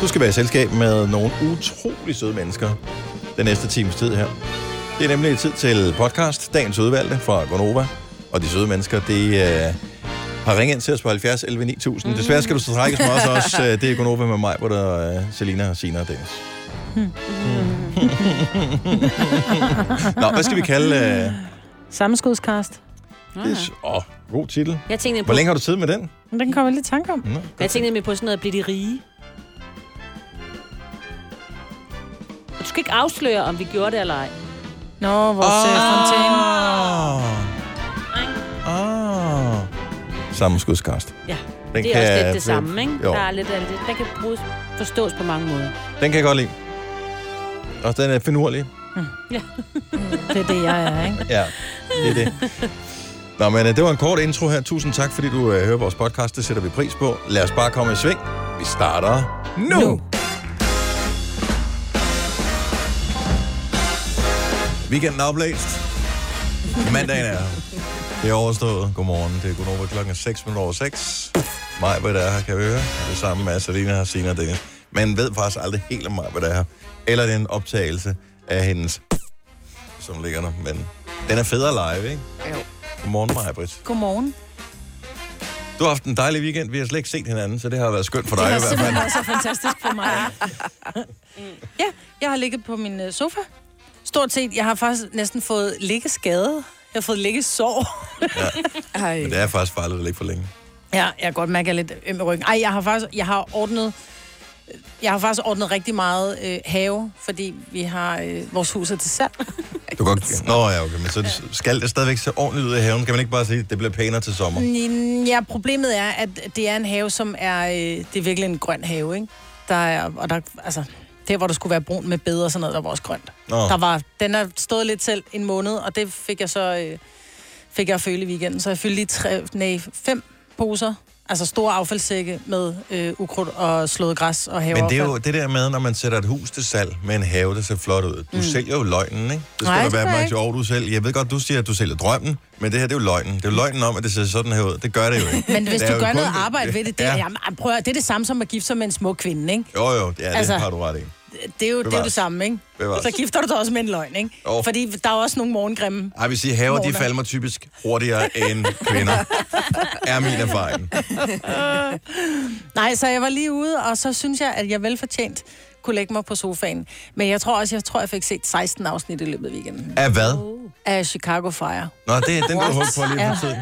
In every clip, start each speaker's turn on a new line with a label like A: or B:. A: Du skal være i selskab med nogle utrolig søde mennesker den næste times tid her. Det er nemlig tid til podcast, dagens udvalgte fra Gonova. Og de søde mennesker, det øh, har ringet ind til os på 70 11 9000. Mm. Desværre skal du så trækkes med os også. Øh, det er Gonova med mig, hvor der øh, Selina, Sina og Dennis. Nå, hvad skal vi kalde... Øh,
B: Sammenskudskast.
A: det? s- Åh, god titel.
C: Jeg tænkte,
A: Hvor
C: på,
A: længe har du siddet med den?
B: Men den kommer jeg lidt i tanke om.
A: Nå,
C: jeg tænkte nemlig på sådan noget at blive de rige. Og du skal ikke afsløre, om vi gjorde det eller ej.
B: Nå, vores oh. fontæne.
A: Ah. Ah. Sammenskudskast.
C: Ja,
A: Den
C: det er også lidt
A: øh,
C: det samme, ikke?
A: Jo,
C: Der er lidt af det. Der kan bruges, forstås på mange måder.
A: den kan jeg godt lide. Og den er finurlig.
B: Det er det, jeg er, ikke?
A: Ja, det er det. Nå, men øh, det var en kort intro her. Tusind tak, fordi du øh, hører vores podcast. Det sætter vi pris på. Lad os bare komme i sving. Vi starter nu. nu. Weekenden er oplæst. Mandagen er Det er overstået. Godmorgen. Det er Gunova klokken 6 minutter over 6. Maj, hvad der er her, kan vi høre. Det samme med Selina har Sina og Dennis. Man ved faktisk aldrig helt om mig, hvad der er her. Eller det er en optagelse af hendes, som ligger der. Men den er federe live, ikke? Jo. Godmorgen, Maja Britt.
B: Godmorgen.
A: Du har haft en dejlig weekend. Vi har slet ikke set hinanden, så det har været skønt for dig i
B: Det har
A: hvert fald.
B: simpelthen været så fantastisk for mig. ja, jeg har ligget på min øh, sofa. Stort set, jeg har faktisk næsten fået liggeskade. Jeg har fået liggesår.
D: Ej.
A: Men det er faktisk farligt at ligge for længe.
B: Ja, jeg kan godt mærke, at jeg er lidt øm i ryggen. Ej, jeg har faktisk jeg har ordnet... Jeg har faktisk ordnet rigtig meget øh, have, fordi vi har øh, vores hus er til salg.
A: Du kan godt... Nå ja, okay, men så skal det stadigvæk se ordentligt ud i haven. Kan man ikke bare sige, at det bliver pænere til sommer?
B: Mm, Ja, problemet er, at det er en have, som er... Øh, det er virkelig en grøn have, ikke? Der er, og der, altså, der, hvor der skulle være brun med bede og sådan noget, der var også grønt.
A: Nå.
B: Der var, den har stået lidt selv en måned, og det fik jeg så øh, fik jeg at føle i weekenden. Så jeg fyldte lige tre, nej, fem poser, altså store affaldssække med øh, ukrudt og slået græs og haveaffald.
A: Men det er jo det der med, når man sætter et hus til salg med en have, der ser flot ud. Du mm. sælger jo løgnen, ikke? Det skal
B: Nej,
A: Nej,
B: det
A: du være
B: gør jeg
A: opmærksom over, du selv. Jeg ved godt, du siger, at du sælger drømmen, men det her, det er jo løgnen. Det er jo løgnen om, at det ser sådan her ud. Det gør det jo ikke.
B: Men hvis
A: Det er
B: du
A: jo
B: gør
A: kun-
B: noget arbejde ved det, det, er,
A: Ja.
B: jamen, ej, prøv, at høre, det er det samme som at gifte sig med en smuk kvinde, ikke?
A: Jo, jo, ja, altså,
B: Altså-
A: det har du ret i.
B: Det er jo det, er jo
A: Bevares.
B: det samme, ikke?
A: Bevares.
B: Så gifter du dig også med en løgn, ikke?
A: Jo.
B: Fordi der er også nogle morgengrimme.
A: Ej, vi siger, haver, de
B: Morten.
A: falmer typisk hurtigere end kvinder. er min erfaring.
B: Nej, så jeg var lige ude, og så synes jeg, at jeg velfortjent kunne lægge mig på sofaen. Men jeg tror også, jeg tror, jeg fik set 16 afsnit i løbet af weekenden.
A: Er hvad?
B: Af Chicago Fire.
A: Nå, det er den, du har holdt på lige
B: Ja.
A: for tiden.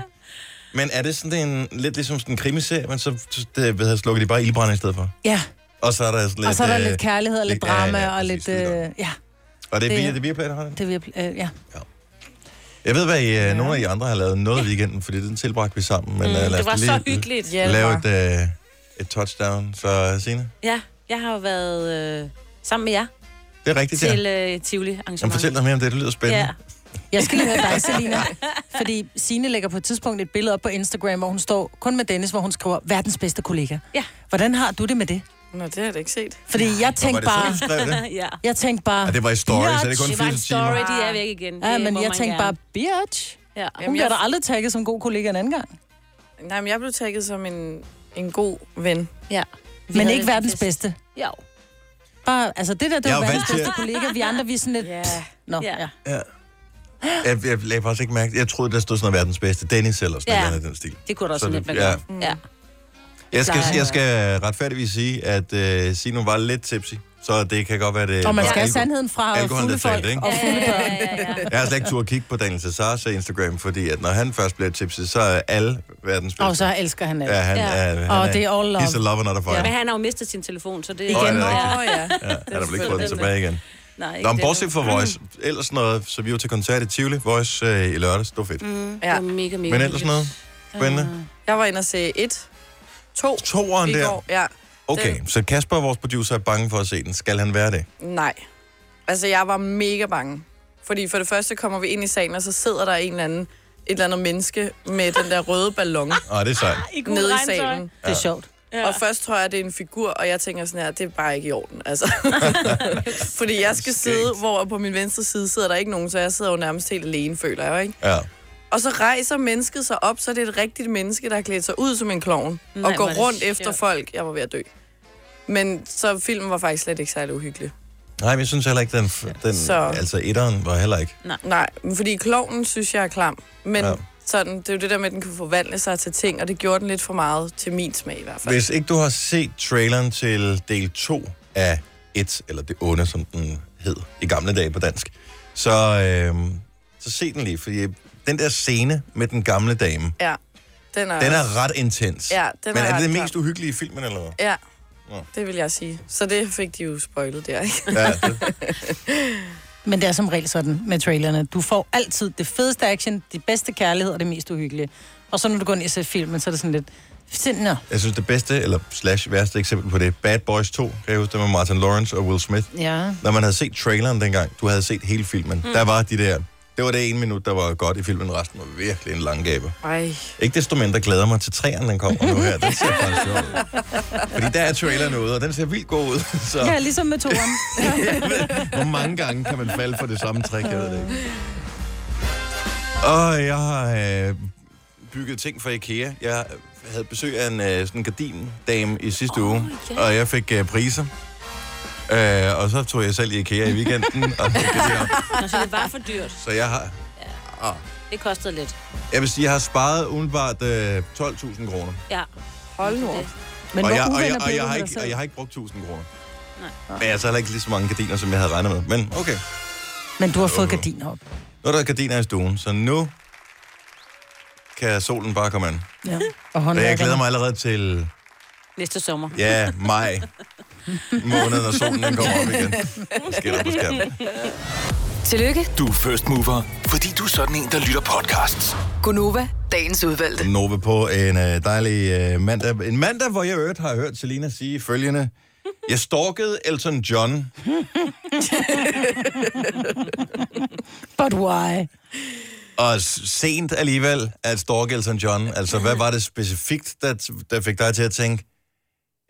A: Men er det sådan en, lidt ligesom sådan en krimiserie, men så det, ved jeg, slukker de bare ildbrænde i stedet for?
B: Ja,
A: Og så er der sådan lidt...
B: og så er der
A: øh,
B: lidt kærlighed og lidt
A: ja, ja,
B: drama og
A: præcis,
B: lidt... Øh,
A: skide godt.
B: ja,
A: Og det er
B: det-
A: via det via der har den?
B: det vil jeg... Øh, ja.
A: Jeg ved, hvad I, ja. nogle af I andre har lavet noget i weekenden, fordi den tilbragte vi sammen. Men mm, lad
C: det
A: os
C: var
A: lige
C: så hyggeligt.
D: Ja, det
A: lave
D: var.
A: et, øh, et touchdown. Så Signe,
C: Ja, jeg har jo været øh, sammen med jer
A: det er rigtigt,
C: til
A: til, ja.
C: øh, Tivoli arrangement.
A: Jamen, fortæl dig mere om det, det lyder spændende.
C: Ja,
A: Ja.
B: Jeg skal lige høre dig, Selina. Fordi Sine lægger på et tidspunkt et billede op på Instagram, hvor hun står kun med Dennis, hvor hun skriver, verdens bedste kollega.
C: Ja.
B: Hvordan har du det med det?
D: Nå, det har jeg da ikke set.
B: Fordi jeg
A: Var
B: tænkte
A: det sådan,
B: bare...
A: du skrev det?
C: ja.
B: Jeg tænkte bare...
A: Ja, det var i story, så det er
B: biatch.
A: kun
C: Det var en
A: 80 timer.
C: story, de er væk igen. Det
B: Ja,
C: må
B: men jeg
C: man
B: tænkte bare,
C: gerne.
B: bitch.
C: Ja.
B: Hun
D: Jamen,
B: bliver
D: jeg-
B: da aldrig tagget som god kollega en anden gang.
D: Nej, men jeg blev tagget som en, en god ven.
C: ja. Vi
B: Men
C: havde
B: ikke
C: det
B: verdens
C: fest.
B: bedste.
C: Jo.
B: Bare, altså det der, det
A: Jeg
B: var
A: er jo
B: verdens
A: vant til
B: bedste
A: at-
B: kollega. Vi andre, vi er sådan lidt...
D: Ja.
B: Yeah. Nå,
C: Ja.
B: ja.
A: Ja. Jeg, jeg lagde faktisk ikke mærke Jeg troede, der stod sådan noget verdens bedste. Dennis eller sådan
C: Ja.
A: noget i den stil.
C: Det kunne da også
A: Så
C: sådan lidt Mm.
A: det-
C: være
A: ja.
C: godt. Ja.
A: Jeg skal,
C: Nej.
A: jeg skal retfærdigvis sige, at øh, Sino var lidt tipsy. Så det kan godt være, det...
B: Og man
A: var
B: skal have
A: alkohol.
B: sandheden fra
A: Alkohol,
B: fulde
A: det er
B: folk
A: fint, ikke?
B: og fulde
C: Ja,
B: børn.
C: ja, ja, ja.
A: Jeg har slet ikke tur at kigge på Daniel Cesar's Instagram, fordi at når han først bliver tipsy, så er alle verdens bedste.
B: Og så elsker han det.
A: Ja,
B: Ja.
A: han,
C: Ja.
A: Er, han
B: Og
A: er,
B: det er all love.
A: He's a lover, not a fighter.
C: Men
A: Ja.
C: han har jo mistet sin telefon, så det
A: Åh,
B: Igen.
A: er det
B: Nå,
A: rigtigt?
D: Åh ja.
A: Han har vel ikke fået den
C: selvfølgelig.
A: tilbage igen.
C: Nej, ikke Mm.
A: Nå, men
C: det.
A: bortset fra Voice, ellers noget, så vi var til koncert i Tivoli, Voice øh, i lørdags, det var fedt. Mm.
C: Det
D: ja. Øh,
C: var mega, mega
A: Men ellers
C: hyggeligt.
A: noget spændende.
D: Jeg var inde og se et, to
A: Toeren
D: i
A: der.
D: går. Ja.
A: Okay, så Kasper, vores producer, er bange for at se den. Skal han være det?
D: Nej. Altså, jeg var mega bange. Fordi for det første kommer vi ind i salen, og så sidder der en eller anden, et eller andet menneske med den der røde ballon
A: Åh, det er sejt.
C: I gul
D: nede i
C: regntøj.
D: salen.
B: Det er sjovt.
D: Ja. Og først tror jeg, det er en figur, og jeg tænker sådan her, det er bare ikke i orden, altså. Fordi jeg skal sidde, hvor på min venstre side sidder der ikke nogen, så jeg sidder jo nærmest helt alene, føler jeg, ikke?
A: Ja.
D: Og så rejser mennesket sig op, så det er et rigtigt menneske, der har klædt sig ud som en klovn.
C: Nej,
D: og går
C: hvor er det
D: rundt efter
C: sjovt.
D: folk. Jeg var ved at dø. Men så filmen var faktisk slet ikke særlig uhyggelig.
A: Nej, men jeg synes heller ikke, den, f- den
D: Så-
A: altså etteren var heller ikke.
D: Nej, men fordi kloven synes jeg er klam. Men
A: Ja.
D: ja. sådan, det er jo det der med, at den kan forvandle sig til ting, og det gjorde den lidt for meget til min smag i hvert fald.
A: Hvis ikke du har set traileren til del 2 af 1, eller det onde, som den hed i gamle dage på dansk, så, øh, så se den lige, fordi den der scene med den gamle dame,
D: Ja, den er,
A: den er ret intens.
D: Ja, den
A: Men
D: er,
A: er det
D: ret
A: den
D: klam.
A: mest uhyggelige i filmen, eller hvad?
D: Ja,
A: Nå.
D: det vil jeg sige. Så det fik de jo spoilet der, ikke?
A: Ja, det,
B: Men det er som regel sådan med trailerne. Du får altid det fedeste action, det bedste kærlighed og det mest uhyggelige. Og så når du går ind og ser filmen, så er det sådan lidt... sind- Nå,
A: jeg synes, det bedste, eller slash værste eksempel på det, Bad Boys 2, kan jeg huske, det med Martin Lawrence og Will Smith.
B: ja.
A: Når man havde set traileren dengang, du havde set hele filmen, mm. der var de der... Det var det ene minut, der var godt i filmen, resten var virkelig en lang gabe.
D: Ej,
A: Ikke desto mindre glæder jeg mig til træerne, den kommer nu her. Den ser faktisk sjov ud. Fordi der er traileren ude, og den ser vildt god ud. Så
B: Ja, ligesom med toren.
A: hvor mange gange kan man falde for det samme trick, jeg ved det ikke. Og jeg har øh, bygget ting fra IKEA. Jeg havde besøg af en øh, sådan gardindame i sidste oh, uge,
C: ja.
A: og jeg fik øh, priser. Øh, og så tog jeg selv i IKEA i weekenden, og fik det op.
C: Nå, så det var for dyrt.
A: Så jeg har,
C: Det kostede lidt.
A: jeg vil sige, jeg har sparet udenbart øh, 12.000 kroner.
C: Ja.
D: hold nu op.
C: Det-
B: Men
A: og
B: hvor
A: jeg, og,
B: uvenner
A: jeg, og,
B: blev
A: jeg
B: du
A: har
B: med
A: ikke,
B: dig
A: og
B: selv?
A: jeg har ikke brugt 1000 kroner. Men jeg har så heller ikke lige så mange gardiner, som jeg havde regnet med. Men okay,
B: Men du har fået gardiner op.
A: nu er der gardiner i stuen, så nu kan solen bare komme an.
B: Ja. Og
A: Og jeg
B: håndværkerne.
A: glæder mig allerede til,
C: Næste sommer.
A: ja, maj måned, når solen den kommer op igen. Sker der på skærmen.
E: Tillykke,
F: Du er first mover, fordi du er sådan en, der lytter podcasts.
E: Gunova, dagens udvalgte.
A: Nova på en øh, dejlig øh, mandag. En mandag, hvor jeg i øvrigt har hørt Selina sige følgende. Jeg stalkede Elton John.
B: But why?
A: Og s- sent alligevel at stalke Elton John. Altså, hvad var det specifikt, der, t- der fik dig til at tænke,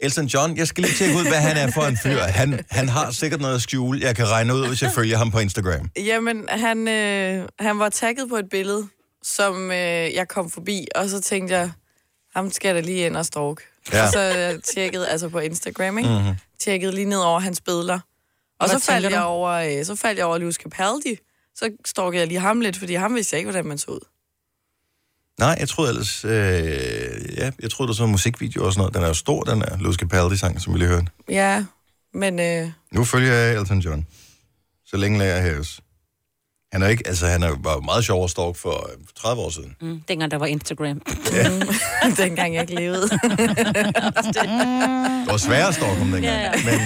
A: Elton John, jeg skal lige tjekke ud, hvad han er for en fyr. Han, han har sikkert noget at skjule. Jeg kan regne ud, hvis jeg følger ham på Instagram.
D: Jamen, han, øh, han var tagget på et billede, som øh, jeg kom forbi, og så tænkte jeg, ham skal der lige ind og stalk.
A: Ja. Mhm.
D: Ja. Og så jeg tjekkede, altså på Instagram, ikke? Mm-hmm. tjekkede lige ned over hans billeder. Og
B: Hvad
D: så faldt,
B: tænker
D: jeg
B: du?
D: over, øh, så faldt jeg over Lewis Capaldi. Så stalkede jeg lige ham lidt, fordi ham vidste jeg ikke, hvordan man så ud.
A: Nej, jeg troede ellers... Øh, ja, jeg troede, der var sådan en musikvideo og sådan noget. Den er jo stor, den er Lewis Capaldi-sang, som vi lige hørte.
D: Ja, men øh,
A: Nu følger jeg Elton John. Så længe lærer jeg hæves. Han er ikke... Altså, han er jo bare meget sjov at stalk for øh, 30 år siden.
C: Mm, dengang der var Instagram. Mm.
D: dengang jeg ikke levede.
A: Det var sværere at stalke ham dengang.
C: Ja,
A: Men,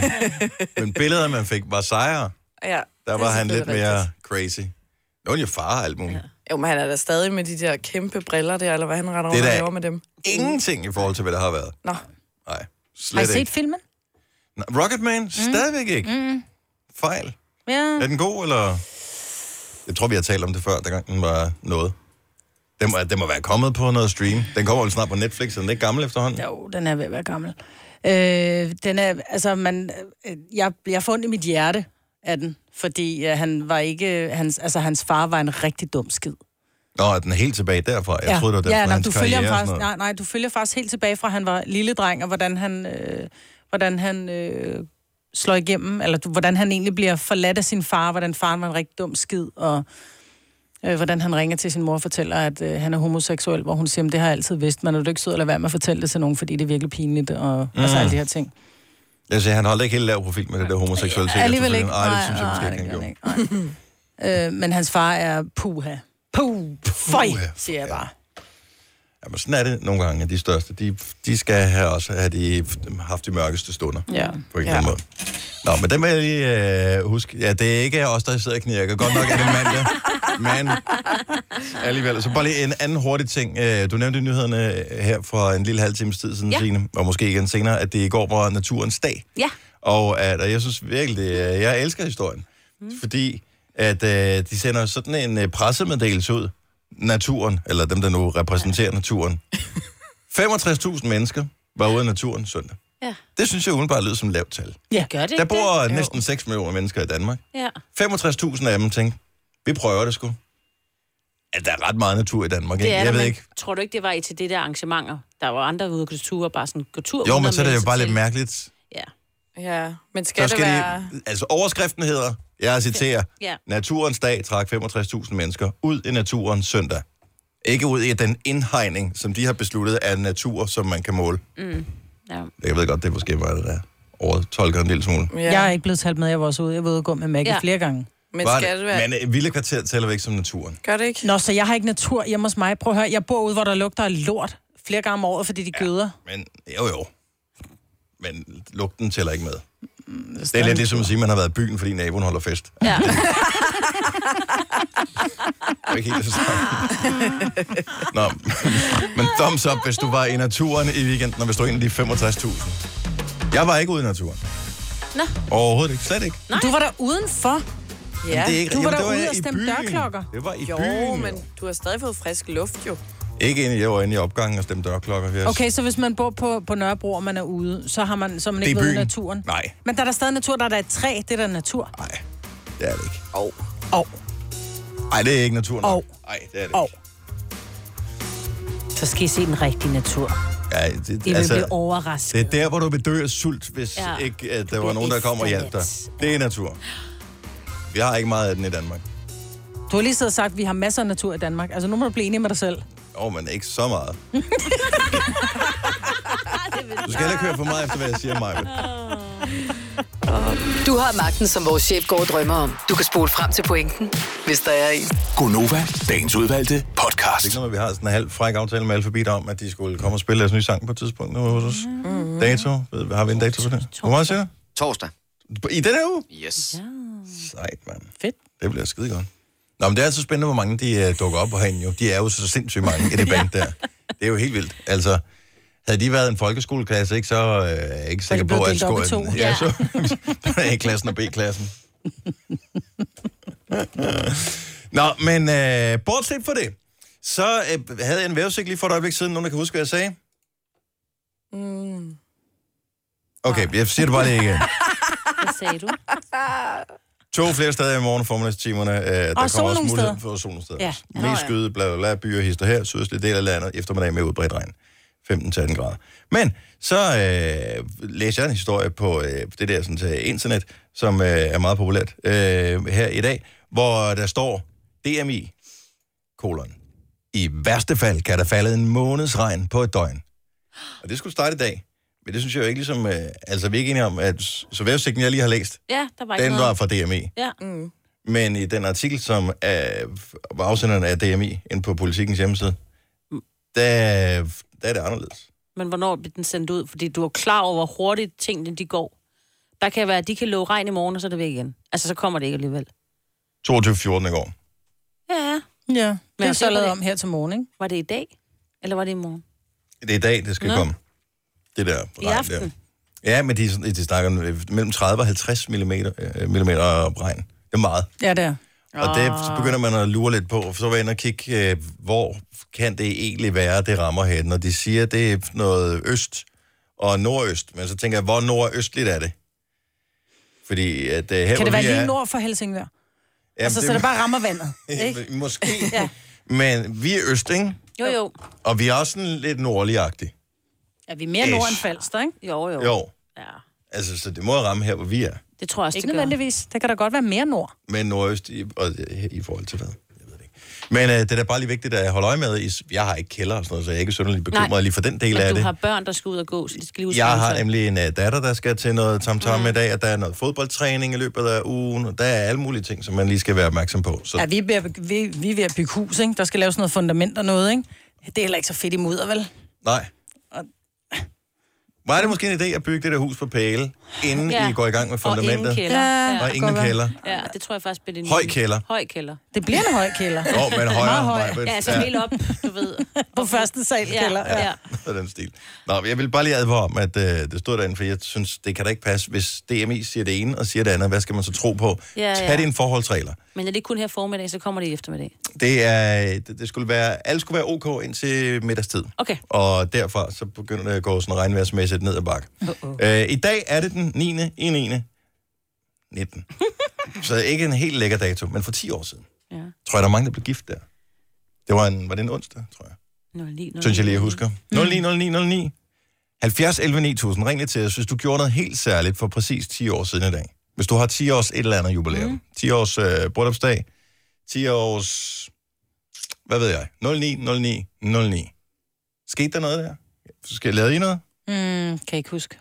A: men billeder, man fik, var sejere.
D: ja,
A: Der
D: det
A: var
B: Altså,
D: er
A: han lidt
D: selvfølgelig
A: mere
D: rigtigt.
A: crazy. Det var jo far og alt muligt. Ja.
D: Jo, men han er da stadig med de der kæmpe briller der, eller hvad han render
A: Det er
D: rundt og
A: da-
D: laver med dem.
A: Ingenting i forhold til, hvad der har været.
D: Nå,
A: Nej,
B: Har I
A: slet
B: set
A: ikke.
B: filmen?
A: Nå, Rocketman? Mm. Stadigvæk ikke. Mm. Fejl.
B: Ja.
A: Er den god, eller? Jeg tror, vi har talt om det før, dengang den var noget. Den må, den må være kommet på noget stream. Den kommer jo snart på Netflix, er den ikke gammel efterhånden?
B: Jo, Uh, den er ved at være gammel. Øh, den er, altså, man, øh, jeg, jeg får ondt i mit hjerte af den, fordi øh, han var ikke, øh, hans, altså, hans far var en rigtig dum skid.
A: Nå, er den helt tilbage derfra? Jeg troede, det var den
B: ja,
A: fra
B: nej,
A: hans
B: du følger ham
A: karriere og
B: faktisk,
A: sådan
B: nej,
A: noget.
B: nej, du følger faktisk helt tilbage fra, at han var lille dreng, og hvordan han, øh, hvordan han øh, slår igennem, eller du, hvordan han egentlig bliver forladt af sin far, hvordan faren var en rigtig dum skid, og øh, hvordan han ringer til sin mor og fortæller, at øh, han er homoseksuel, hvor hun siger, "Men det har jeg altid vidst, men er du ikke sød at lade være med at fortælle det til nogen, fordi det er virkelig pinligt, og mm. altså alle de her ting.
A: Jeg siger, han holdt ikke helt lav profil med det der homoseksualitet.
B: Alligevel ikke.
A: Nej, det synes jeg måske
B: nej,
A: ikke, han
B: det
A: gjorde.
B: gør han ikke. Nej. øh, men hans far er puha. Puh, føj, siger jeg bare.
A: Jamen, sådan er det nogle gange, at de største. De, de skal have også have de, haft de mørkeste stunder.
B: Ja.
A: På en eller anden måde. Nå, men den vil jeg lige øh, huske. Ja, det er ikke os, der sidder og knirker. Godt nok er det mandag. Men alligevel. Så bare lige en anden hurtig ting. Øh, Du nævnte i nyhederne øh, her for en lille halv times tid siden, ja.
C: Ja.
A: Signe, og måske igen senere, at det i går var naturens dag.
C: Ja.
A: Og, at, og jeg synes virkelig, det er- jeg elsker historien. Mm. Fordi at øh, de sender sådan en øh, pressemeddelelse ud. Naturen, eller dem, der nu repræsenterer naturen. 65.000 mennesker var ude i naturen søndag.
C: Ja.
A: Det synes jeg udenbart lyder som lavt tal.
B: Ja.
C: Gør det
A: Der
C: ikke
A: bor
C: det?
A: næsten 6 millioner mennesker i Danmark.
C: Ja.
A: 65.000 af dem tænkte, vi prøver det sgu. Ja, der er ret meget natur i Danmark,
C: Det
A: ikke?
C: er
A: Jeg
C: der,
A: ved
C: men
A: ikke.
C: Tror du ikke, det var i til det der arrangementer? Der var andre ude og gå tur og bare sådan gå tur.
A: Jo,
C: uden
A: men
C: at
A: så er det
C: melde
A: jo
C: sig
A: bare
C: til.
A: lidt mærkeligt.
C: Ja.
D: Ja, men skal,
A: Så
D: skal
A: skal
D: det være...
A: de, altså overskriften hedder, jeg citerer,
C: Ja.
A: Naturens dag trak 65.000 mennesker ud i naturen søndag. Ikke ud i den indhegning, som de har besluttet er natur, som man kan måle.
B: Mm.
C: Ja.
A: Jeg ved godt, det er måske mig, der overtolker en lille
D: De...
A: smule.
B: Ja. Jeg er
D: Ja,
B: ikke blevet talt med, jeg var også ude. Jeg var ude og gå med Maggie ja.
C: Ja.
B: flere gange.
D: men
A: Var
D: skal det være...
A: Men øh, Vilde Kvarter tæller væk som naturen.
D: Gør det ikke?
B: Nå, så jeg har ikke natur hjemme hos mig. Prøv at høre, jeg bor ude, hvor der lugter af lort flere gange om året, fordi de ja. gøder.
A: Men jo jo. Men lugten tæller ikke med.
B: Mm,
A: Det er
B: stadig
A: lidt ligesom at sige, at man har været i byen, fordi naboen holder fest. Det
C: ja.
A: er ikke helt det samme. Nå, men thumbs up, hvis du var i naturen i weekenden, og hvis du er en af de 65.000. Jeg var ikke ude i naturen.
C: Nå.
A: Overhovedet ikke. Slet ikke.
B: Nej. Du var der udenfor.
D: Ja.
A: det er ikke
B: du var
A: Jamen, det
B: derude
A: jeg
B: og
A: i
B: stemte
A: byen.
B: dørklokker.
A: Det var i
D: Jo,
A: byen.
D: men du har stadig fået frisk luft, jo.
A: Ikke inde, i- jeg var inde i opgangen og stemte dørklokker. Yes.
B: Okay, så hvis man bor på, på Nørrebro, og man er ude, så har man, så er man
A: Det er
B: ikke
A: i
B: været ude i
A: byen.
B: naturen.
A: Nej.
B: Men der er der stadig natur, der er der et træ, det er der natur.
A: Nej, det er det ikke.
D: Og
B: Og,
A: Nej, det er ikke naturen.
B: Og.
A: Nej, det er det
B: og.
A: ikke.
C: Så skal I se den rigtige natur.
A: Ja, det, altså,
C: I vil blive
A: Det
C: overrasket.
A: er der, hvor du vil dø af sult, hvis ja.
C: Ja.
A: ikke at der var
C: Du bliver
A: nogen, der kom og hjalp dig.
C: efterladt.
A: Det er natur. Vi har ikke meget af den i Danmark.
B: Du har lige siddet og sagt, at vi har masser af natur i Danmark. Altså, nu må du blive enig med dig selv.
A: Åh, oh, men ikke så meget. Du skal heller ikke høre for meget efter, hvad jeg siger, Maja.
E: Du har magten, som vores chef går og drømmer om. Du kan spole frem til pointen, hvis der er en.
F: Gonova, dagens udvalgte podcast.
A: Det er ikke noget, med, at vi har sådan en halv fræk aftale med Alphabet om, at de skulle komme og spille deres nye sang på et tidspunkt nu hos os. Mm. Dato? Ved- Har vi en dato for det? Hvor meget siger du?
G: Torsdag.
A: I den her uge?
G: Yes. Ja.
A: Sejt, mand.
B: Fedt.
A: Det bliver skide godt. Nå, men det er altså spændende, hvor mange de uh, dukker op herinde jo. De er jo så sindssygt mange i det band der. Det er jo helt vildt. Altså, havde de været en folkeskoleklasse, ikke, så øh, er jeg ikke sikker
B: blevet
A: på, at
B: delt op i to.
A: skolen... Ja, så A-klassen og B-klassen. Nå, men øh, bortset fra det, så øh, havde jeg en vævesigt lige for et øjeblik siden. Nogen, der kan huske, hvad jeg sagde?
D: Mm.
A: Okay, jeg siger det bare lige igen.
C: Hvad sagde du?
A: To flere steder i morgen formiddagstimerne. Øh, der
B: Og sol
A: kommer også
B: nogle
A: mulighed
B: steder.
A: for sol nogle steder.
B: Ja.
A: Ja. Mest skyde, bla bla bla, byer, hister her, sydøstlige del af landet, eftermiddag med udbredt regn. 15-18 grader. Men så øh, læser jeg en historie på øh, det der sådan, til internet, som øh, er meget populært øh, her i dag, hvor der står DMI, kolon. I værste fald kan der falde en måneds regn på et døgn. Og det skulle starte i dag. Men det synes jeg jo ikke ligesom... Øh, altså, vi er ikke enige om, at så vejrudsigten, jeg lige har læst,
C: Ja, der var ikke
A: den var
C: noget.
A: fra DMI.
C: Ja.
D: Mm.
A: Men i den artikel, som er, var afsenderen af DMI ind på politikens hjemmeside, der, der er det anderledes.
C: Men hvornår bliver den sendt ud? Fordi du er jo klar over, hvor hurtigt tingene de går. Der kan være, at de kan love regn i morgen, og så er det væk igen. Altså, så kommer det ikke alligevel.
A: 22.14 i går.
C: Ja,
B: Ja, det er
C: jeg
B: så
C: tænker
B: lavet
C: det-
B: om her til morgen, ikke?
C: Var det i dag? Eller var det i morgen?
A: Det er i dag, det skal Nå.
C: Nå.
A: komme. Det der
C: I
A: regn der.
C: aften?
A: Ja, men de, er sådan- de snakker om øh, mellem 30 og 50 mm, mm regn. Det er meget.
B: Ja, det er.
A: Og det,
B: Ah.
A: så begynder man at lure lidt på, for så var jeg inde og kigge, øh, hvor kan det egentlig være, det rammer hen. Og de siger, det er noget øst og nordøst. Men så tænker jeg, hvor nordøstligt er det? Fordi at, øh, her,
B: Kan
A: hvor
B: det være
A: vi
B: lige
A: er-
B: nord for Helsingør?
A: Jamen,
B: Altså, så det bare rammer vandet, ikke?
A: Måske.
B: Ja.
A: Men vi er øst, ikke?
C: Jo, jo.
A: Og vi er også sådan lidt nordligagtige.
B: Er vi mere
A: Ish.
B: nord end Falster, ikke?
C: Jo, jo.
A: Jo,
C: Ja.
A: altså, så det må ramme her, hvor vi er.
C: Det tror jeg også,
B: Ikke
C: det gør.
B: nødvendigvis. Der kan da godt være mere nord.
A: Men nordøst i, og, i forhold til hvad? Jeg ved det ikke. Men øh, det er da bare lige vigtigt at holde øje med. I- Jeg har ikke kælder og sådan noget, så jeg er ikke synderligt bekymret
C: Nej.
A: lige for den del
C: Men
A: af
C: du
A: det.
C: har børn, der skal ud og gå, så de skal lige ud
A: Jeg har nemlig en uh, datter, der skal til noget tamtam mm. i dag, og der er noget fodboldtræning i løbet af ugen, og der er alle mulige ting, som man lige skal være opmærksom på. Så
B: Ja, vi er, ved at- vi, vi er ved at bygge hus, ikke? Der skal laves noget fundament og noget, ikke? Det er heller ikke så fedt i mudder, vel?
A: Nej.
B: Og-
A: Var det måske en idé at bygge det der hus på pæle, inden ja.
C: Ja.
A: I går i gang med
C: Og ingen
A: fundamentet?
C: kælder.
B: Ja.
C: Ja.
A: og ingen
B: Godt være.
A: kælder.
C: ja, det tror jeg faktisk bliver det nye.
A: Høj kælder.
C: Høj kælder.
B: Det bliver en høj kælder.
A: Åh, oh, men højere.
B: høj.
A: Majbrit.
C: Ja, altså ja. helt op, du ved.
B: På første sal
C: Ja,
B: kælder.
C: ja. ja.
A: Noget af den stil. Nå, men jeg vil bare lige advare om, at øh, det stod derinde, for jeg synes, det kan da ikke passe, hvis DMI siger det ene og siger det andet. Hvad skal man så tro på?
C: Ja,
A: Tag
C: ja.
A: dine forholdsregler.
C: Men er det kun her formiddag, så kommer det i eftermiddag.
A: Det er, det, det skulle være, alt skulle være ok indtil middagstid.
C: Okay.
A: Og derfra så begynder det at gå sådan regnværsmæssigt ned ad bakke. Uh-oh. Øh, I dag er det den 9. i 9. 19. så ikke en helt lækker dato, men for 10 år siden.
C: Ja.
A: Tror jeg, der er mange, der blev gift der. Det var en, var det en onsdag, tror jeg.
C: Nå, lige, nå,
B: Mm.
A: Synes jeg lige, jeg husker. 09, 09, 09. 70 11 9000, ring lige til os, hvis du gjorde noget helt særligt for præcis 10 år siden i dag. Hvis du har 10 års et eller andet jubilæum. Mm. 10 års øh, bryllupsdag, 10 års... Hvad ved jeg? 09, 09, 09. Skete der noget der? Skal jeg lave i noget?
B: Mm, kan jeg ikke huske.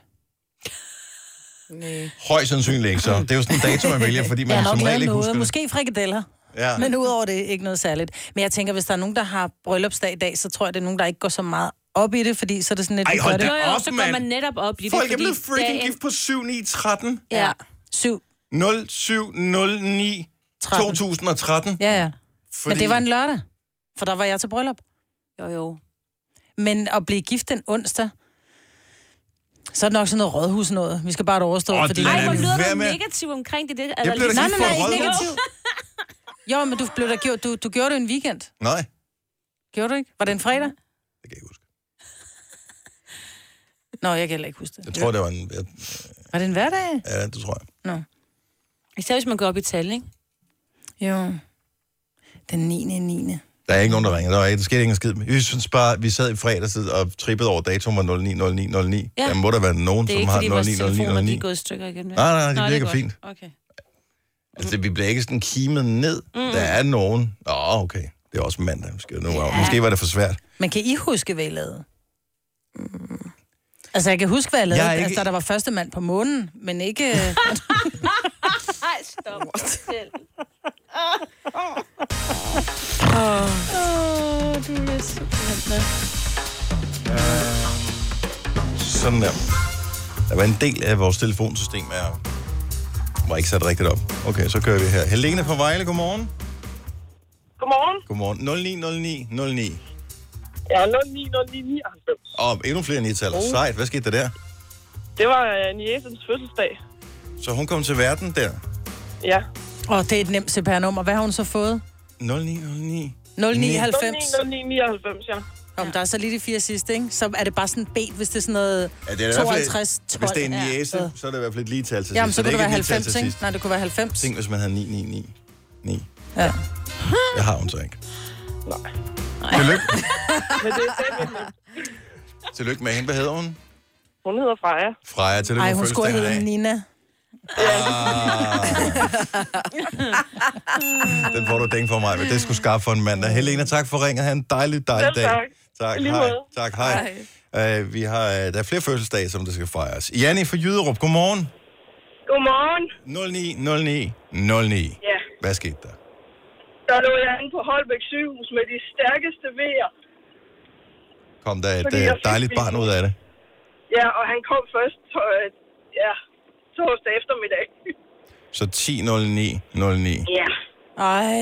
D: Nej.
A: Højst sandsynligt ikke, så. Det er jo sådan en dato, man vælger, fordi
B: Jeg
A: man
B: har
A: som
B: nok
A: regel
B: lavet
A: ikke
B: noget.
A: husker det.
B: Måske frikadeller.
A: Ja.
B: Men udover det, ikke noget særligt. Men jeg tænker, hvis der er nogen, der har bryllupsdag i dag, så tror jeg, det er nogen, der ikke går så meget op i det, fordi så er det sådan lidt...
A: Ej,
B: vi
A: hold
B: gør det.
A: da
C: jo,
A: op,
C: så går
A: mand.
C: man netop op i det.
A: Folk er
C: fordi
A: blevet freaking
C: dagen-
A: gift på 7, 9, 13.
C: Ja.
B: Syv.
A: 0709
B: 13.
A: 2013.
B: Ja, ja.
A: Fordi...
B: Men det var en lørdag, for der var jeg til bryllup.
C: Jo, jo.
B: Men at blive gift den onsdag, så er det nok sådan noget rådhus noget. Vi skal bare overstå,
A: Åh,
B: oh, fordi...
A: det er
C: Ej, hvor
A: vi
C: lyder
A: være
C: du
A: med?
C: negativ omkring det. det er altså
A: Jeg
C: der
A: blev da
C: lidt-
B: Nej, nej,
A: gift for
B: nej,
A: et
B: ikke
A: rådhus.
B: negativ. Jo, men du blev der gjort, du, du gjorde det en weekend.
A: Nej,
B: Gjorde du ikke? Var det en fredag?
A: det kan jeg ikke huske.
B: Nå, jeg kan heller ikke huske det.
A: Jeg tror, det var en... Ja,
B: Var det en hverdag?
A: Ja, det tror jeg.
C: Især hvis man går op i tal, ikke?
B: Jo. Den 9. 9.
A: Der er ikke nogen, der ringer. Der, var ikke, der skete ingen skid. Vi synes bare, vi sad i fredags og trippede over datoen var 090909. Ja.
C: Ja.
A: Der må der være nogen,
C: Det er
A: som
C: ikke,
A: har
C: fordi vores telefoner de
A: 090909.
C: er gået i stykker igen. vel?
A: Nej, nej, det
C: Nå,
A: virker
C: er godt.
A: fint.
C: Okay.
A: Altså, vi bliver ikke sådan kimet ned. Mm. Der er nogen. Nå, okay. Det er også mandag. Måske, nu, ja. måske var det for svært.
B: Men kan I huske, hvad I lavede? Altså, jeg kan huske, hvad jeg lavede.
A: Jeg er
B: Jeg ikke...
A: ikke-
B: Altså, da der var første mand på månen, men ikke... øh,
C: Ej, stop. Selv.
G: Ah.
A: Sådan der. Der var en del af vores telefonsystem, der var ikke sat rigtigt op. Okay, så kører vi her. Helene fra Vejle, godmorgen.
G: Godmorgen.
A: Godmorgen. 090909.
G: Jeg er 090999.
A: Og endnu flere nitaller. Oh. Sejt. Hvad skete der der?
G: Det var øh, Niesens fødselsdag.
A: Så hun kom til verden der.
G: Ja.
B: Åh, oh, det er et nemt CPR-nummer. Hvad har hun så fået?
A: 0909.
B: 099.
G: 090999, ja.
B: Om der er så lige de fire sidste, ikke? Så er det bare sådan et B, hvis det er sådan noget
A: Ja, det er i hvert fald-
B: 52, 12.
A: Hvis det er en jæse,
B: Ja.
A: så er det i hvert fald et lige tal til
B: Jamen,
A: sidst.
B: så
A: det
B: kunne det
A: er
B: være
A: ikke et lige tal
B: 90,
A: til
B: ikke?
A: sidst.
B: Nej, det kunne være 90.
A: Tænk, hvis man havde 9999.
B: Ja.
A: Det har hun så ikke.
G: Nej.
A: Tillykke.
G: Men det er stadigvæk nemt.
A: Tillykke med hende. Hvad hedder hun?
G: Hun hedder Freja.
A: Freja, tillykke
B: Ej,
A: med
B: hun skulle
A: fødselsdagen i
B: hedde
A: dag.
B: Nina.
A: Den får du dænge for mig, men det skulle skaffe for en mandag. Helena, tak for ringet. Ha' en dejlig, dejlig
G: Selv
A: dag.
G: tak.
A: Tak,
G: I lige
A: hej.
G: måde.
A: Tak, hej. hej. Uh, vi har, uh, der er flere fødselsdage, som der skal fejres. Janni fra Jyderup, godmorgen.
G: Godmorgen.
A: 09, 09, 09.
G: Ja.
A: Hvad skete der?
G: Der lå jeg inde på Holbæk sygehus med de stærkeste vejer.
A: Kom der et
G: Fordi
A: øh,
G: jeg fik
A: dejligt
G: min-
A: barn ud af det?
G: Ja, og han kom først øh, ja, torsdag eftermiddag.
A: Så 10, 09, 09.
G: Ja.
B: Ej.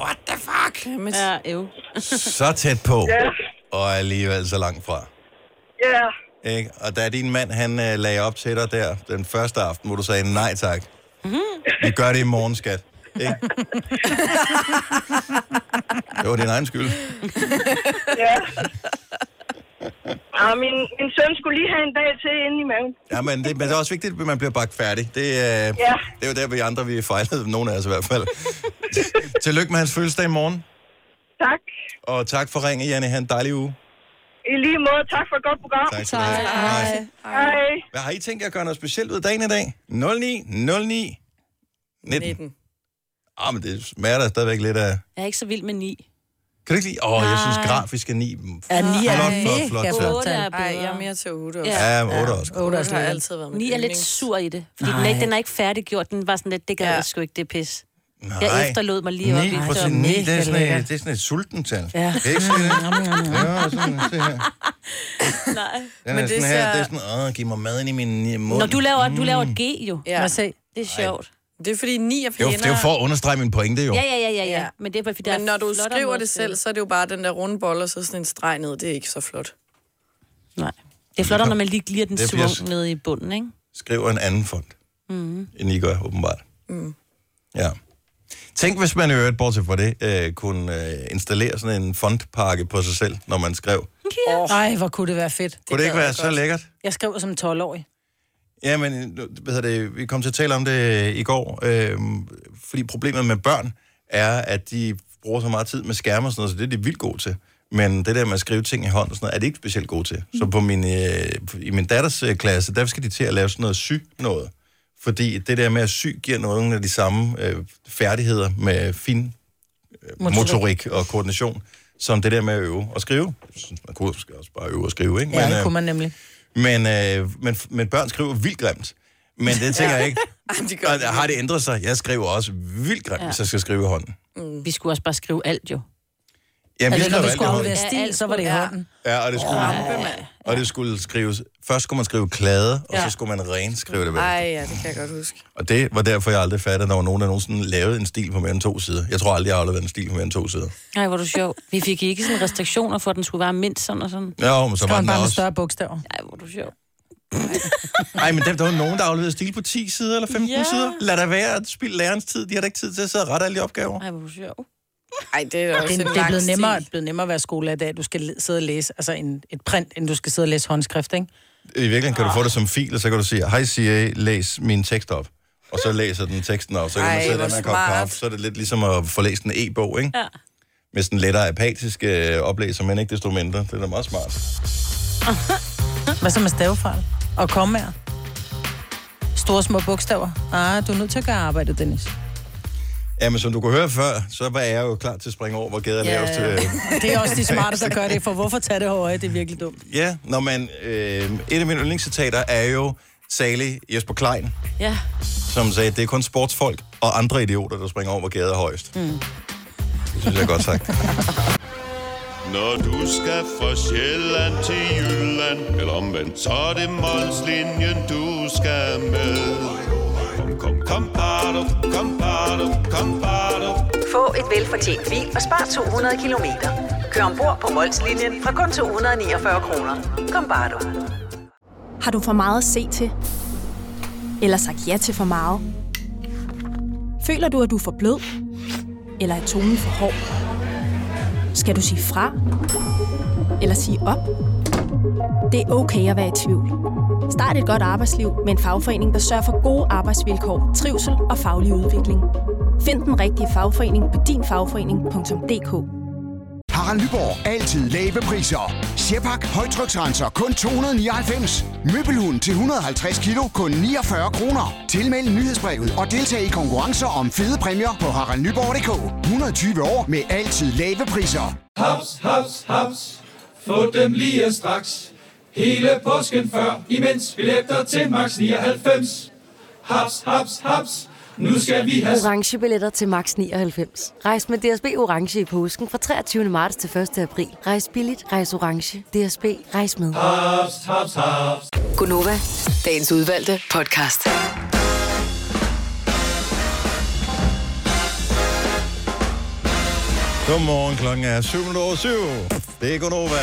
A: What the fuck?
D: Jamen,
C: Ja, jo.
A: Så tæt på,
G: Ja.
A: og alligevel så langt fra.
G: Ja.
A: Ikke? Og da din mand, han øh, lagde op til dig der, den første aften, hvor du sagde nej tak. Vi gør det i morgen, skat. Ikke? det var din egen skyld.
G: Ja. Og min, min søn skulle lige have en dag til inde i maven.
A: Ja, men det, men det er også vigtigt, at man bliver bagt færdig. Det, øh, ja. det er jo der, vi andre vi fejlede, nogle af os i hvert fald. Tillykke med hans fødselsdag i morgen,
G: Tak.
A: og tak for ringen, Janne. Ha' en dejlig uge.
G: I lige måde, tak for et godt program.
A: Tak skal du have. Hej.
G: Hej.
A: Hvad har I tænkt jer at gøre noget specielt ud af dagen i dag? 09, 09, 19.
D: 19.
A: Ah, men det smager da stadigvæk lidt af...
C: Jeg er ikke så vild med ni.
A: Kan du ikke lide? Åh, oh, jeg synes
C: Nej.
A: grafisk er 9.
B: Ja, ni er
A: Flot,
B: mega
A: flot, flot
B: flot,
A: tal.
B: flot
C: Otte er
B: tal.
D: Ej, jeg er
C: bedre.
D: mere til 8 også.
A: Ja, 8 også.
B: Otte er også
D: 8 har
B: lidt.
D: altid været med.
C: Ni er lidt sur i det. Fordi den er,
B: Nej.
C: ikke, den er ikke færdiggjort. Den var sådan lidt, det gad
D: Ja.
C: jeg sgu ikke, det er pis.
A: Nej.
C: Jeg efterlod mig lige op i
A: 9
C: det.
A: procent,
B: var
A: 9, det
B: mega
A: er sådan et,
B: lækkert.
A: det er sådan et sultental.
B: Ja.
A: Kan I ikke se det? Ja, sådan, se her.
C: Nej.
A: Den
D: Men
A: er
D: det
A: sådan her,
D: ser-
A: det er sådan, Mm. åh, giv mig mad ind i min øh, mund.
C: Når du laver, du laver et G jo.
D: Ja.
B: Må jeg se?
C: Det er sjovt.
D: Det er fordi 9 er
A: det er, jo,
D: fjender.
A: det er jo for at understrege min pointe, jo.
C: Ja, ja, ja, ja, ja.
D: Ja.
C: Men det er bare, fordi der
D: Men
C: er
D: når du
C: flottere
D: skriver
C: måder
D: det
C: at skrive
D: selv, så er det jo bare den der runde bold, og så sådan en streg ned. Det er ikke så flot.
C: Nej. Det er flottere, når man lige glider den
A: Det er fordi, jeg-
C: svung ned i bunden, ikke?
A: Skriver en anden fond,
C: Mhm.
A: end I gør, åbenbart.
D: Mm.
A: Ja. Tænk, hvis man i øvrigt, bortset fra det, øh, kunne øh, installere sådan en fondpakke på sig selv, når man skrev.
B: Ej, hvor kunne det være fedt.
A: Kunne det ikke
D: gad
A: være
D: jeg
A: så
D: godt.
A: lækkert?
B: Jeg skrev som 12-årig.
A: Ja, men nu, hvad hedder det, vi kom til at tale om det øh, i går, øh, fordi problemet med børn er, at de bruger så meget tid med skærme og sådan noget, så det er de vildt gode til. Men det der med at skrive ting i hånden og sådan noget, er de ikke specielt gode til. Så på min, øh, i min datters øh, klasse, der skal de til at lave sådan noget syg noget. Fordi det der med at sy giver nogen af de samme øh, færdigheder med fin motorik. motorik og koordination, som det der med at øve og skrive. Jeg synes, man kunne måske også bare øve og skrive, ikke?
B: Ja,
A: Men,
B: det
A: øh,
B: kunne man nemlig.
A: men, øh, men, men børn skriver vildt grimt. Men det tænker jeg ikke.
D: Jamen, de gør
A: Og har det ændret sig? Jeg skriver også vildt grimt, ja. hvis jeg skal skrive i hånden.
B: Mm.
C: Vi skulle også bare skrive alt jo.
A: Jamen, vi
B: Altså, når
A: skriver
B: du
A: alt
B: skulle
A: i hånden.
B: aflevere stil, så var det i
D: Ja.
B: hånden.
A: Ja, og det skulle, og det skulle skrives... Først skulle man skrive klade, og så
B: Ja.
A: skulle man renskrive det. Vel.
D: Ej, ja, det kan jeg godt huske.
A: Og det var derfor, jeg aldrig fattede, at der var nogen, der nogensinde lavede en stil på mere end to sider. Jeg tror aldrig, jeg har afleveret en stil på mere end to sider.
C: Nej, hvor er du sjov. Vi fik ikke sådan restriktioner for, at den skulle være mindst sådan og sådan.
A: Ja, men så
B: Kom
A: var den
B: bare med
A: også...
B: større bogstaver.
C: Nej, hvor er du sjov.
A: Ej, men der, der var nogen, der afleverede stil på 10 sider eller 15
C: Ja.
A: sider. Lad da være at spille lærerens tid. De har da ikke tid til at sidde og rette alle de opgaver.
C: Nej, hvor er du sjov.
D: Ej, det er da også
B: Det,
D: en
B: det er
D: lang
B: blevet
D: stil.
B: nemmere, blevet nemmere at være skolelærer, da du skal le- sidde og læse altså en, et print, end du skal sidde og læse håndskrift, ikke?
A: I virkeligheden kan du få det som fil, og så kan du sige, hej Siri, læs min tekst op. Og så læser den teksten op, så kan
D: Ej,
A: man sætte
D: hvor
A: den her kop
D: smart.
A: kaffe. Så er det lidt ligesom at få læst en e-bog, ikke? Ja. Med sådan lettere apatisk øh, oplæser, men ikke desto mindre. Det er da meget smart.
B: Hvad så med stavefejl? Og kommaer? Store små bogstaver? Ah, du er nødt til at gøre arbejdet, Dennis.
A: Ja, men som du kunne høre før, så var jeg jo klar til at springe over, hvor gader ja. lavest. Øh,
B: Det er også de smarte, der gør det, for hvorfor tage det høje? Det er virkelig dumt.
A: ja, når man... Øh, et af mine yndlingscitater er jo salig Jesper Klein,
C: Ja,
A: som sagde, det er kun sportsfolk og andre idioter, der springer over, hvor gader er højst. Mm. Det synes jeg er godt sagt.
H: Når du skal fra Sjælland til Jylland, eller omvendt, så er det Molslinjen, du skal med. Kom, kom, kom, bado, kom, bado, kom, bado.
I: Få et velfortjent bil og spar 200 kilometer. Kør ombord på Molslinjen fra kun 249 kroner. Kom bare du.
J: Har du for meget at se til? Eller sagt ja til for meget? Føler du, at du er for blød? Eller er tonen for hård? Skal du sige fra? Eller sige op? Det er okay at være i tvivl. Start et godt arbejdsliv med en fagforening, der sørger for gode arbejdsvilkår, trivsel og faglig udvikling. Find den rigtige fagforening på dinfagforening.dk.
F: Harald Nyborg. Altid lave priser. Sjehpak. Højtryksrenser. Kun 299. Møbelhund til 150 kilo. Kun 49 kroner. Tilmeld nyhedsbrevet og deltag i konkurrencer om fede præmier på haraldnyborg.dk. 120 år med altid lave priser.
K: Haps, haps, haps. Få dem lige straks. Hele påsken før, imens billetter til max 99. Haps, haps, haps. Nu skal vi have...
J: Orange billetter til max 99. Rejs med DSB Orange i påsken fra 23. marts til 1. april. Rejs billigt, rejs orange. DSB, rejs med.
K: Haps, haps, haps.
E: Gunova, dagens udvalgte podcast.
A: Godmorgen, klokken er 7.07. Det er Gunova.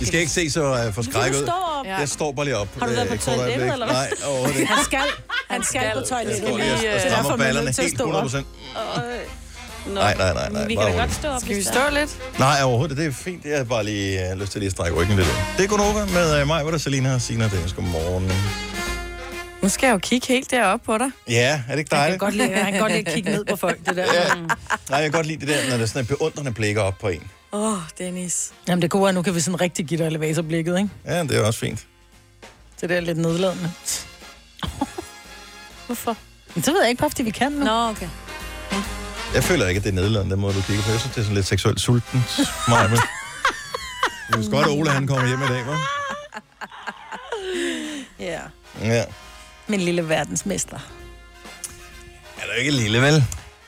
A: I skal ikke se så uh, forskrækket ud.
C: Du står op.
A: Jeg står bare lige op.
C: Har du været på
A: øh, et kort
C: toilettet,
A: øjeblik.
C: eller hvad? Altså,
A: Nej, overhovedet ikke.
B: Han skal, han skal på
A: Jeg
B: toilettet.
A: står lige og-
D: øh,
A: og
D: det er
A: strammer
B: derfor, man er
A: ballerne
B: nødt til at
A: helt
B: stå op.
A: 100%.
C: Nå,
A: Nej, nej, nej, nej,
C: øh, Vi
A: bare
C: kan da godt
A: roligt.
C: stå op.
D: Skal vi
C: hvis der
D: stå
C: er-
D: lidt?
A: Nej, overhovedet. Det er fint. Jeg har bare lige øh, lyst til lige at strække ryggen lidt. ud. Det er Gunova med øh, mig, hvor der Selina og Signe og Dennis. Godmorgen.
D: Nu skal jeg jo kigge helt deroppe på dig.
A: Ja, er det ikke
B: Han
A: dejligt?
B: kan godt lide, han kan godt lide at kigge ned på folk, det der.
A: Nej, jeg kan godt lide det der, når der er sådan et beundrende blikker op på en.
D: Åh, oh, Dennis.
B: Jamen det gode er, nu kan vi sådan rigtig give dig elevatorblikket, ikke?
A: Ja, det er også fint.
B: Det der er lidt nedladende.
C: Hvorfor?
B: Men det ved jeg ikke, bare fordi vi kan nu.
C: Nå, okay.
A: Jeg føler ikke, at det er nedladende, den måde, du kigger på. Jeg synes, det er sådan lidt seksuelt sulten. Maja, men... Jeg synes godt, at Ole han kommer hjem i dag, hva'?
B: Ja.
A: Ja.
B: Min lille verdensmester.
A: Er du ikke lille, vel?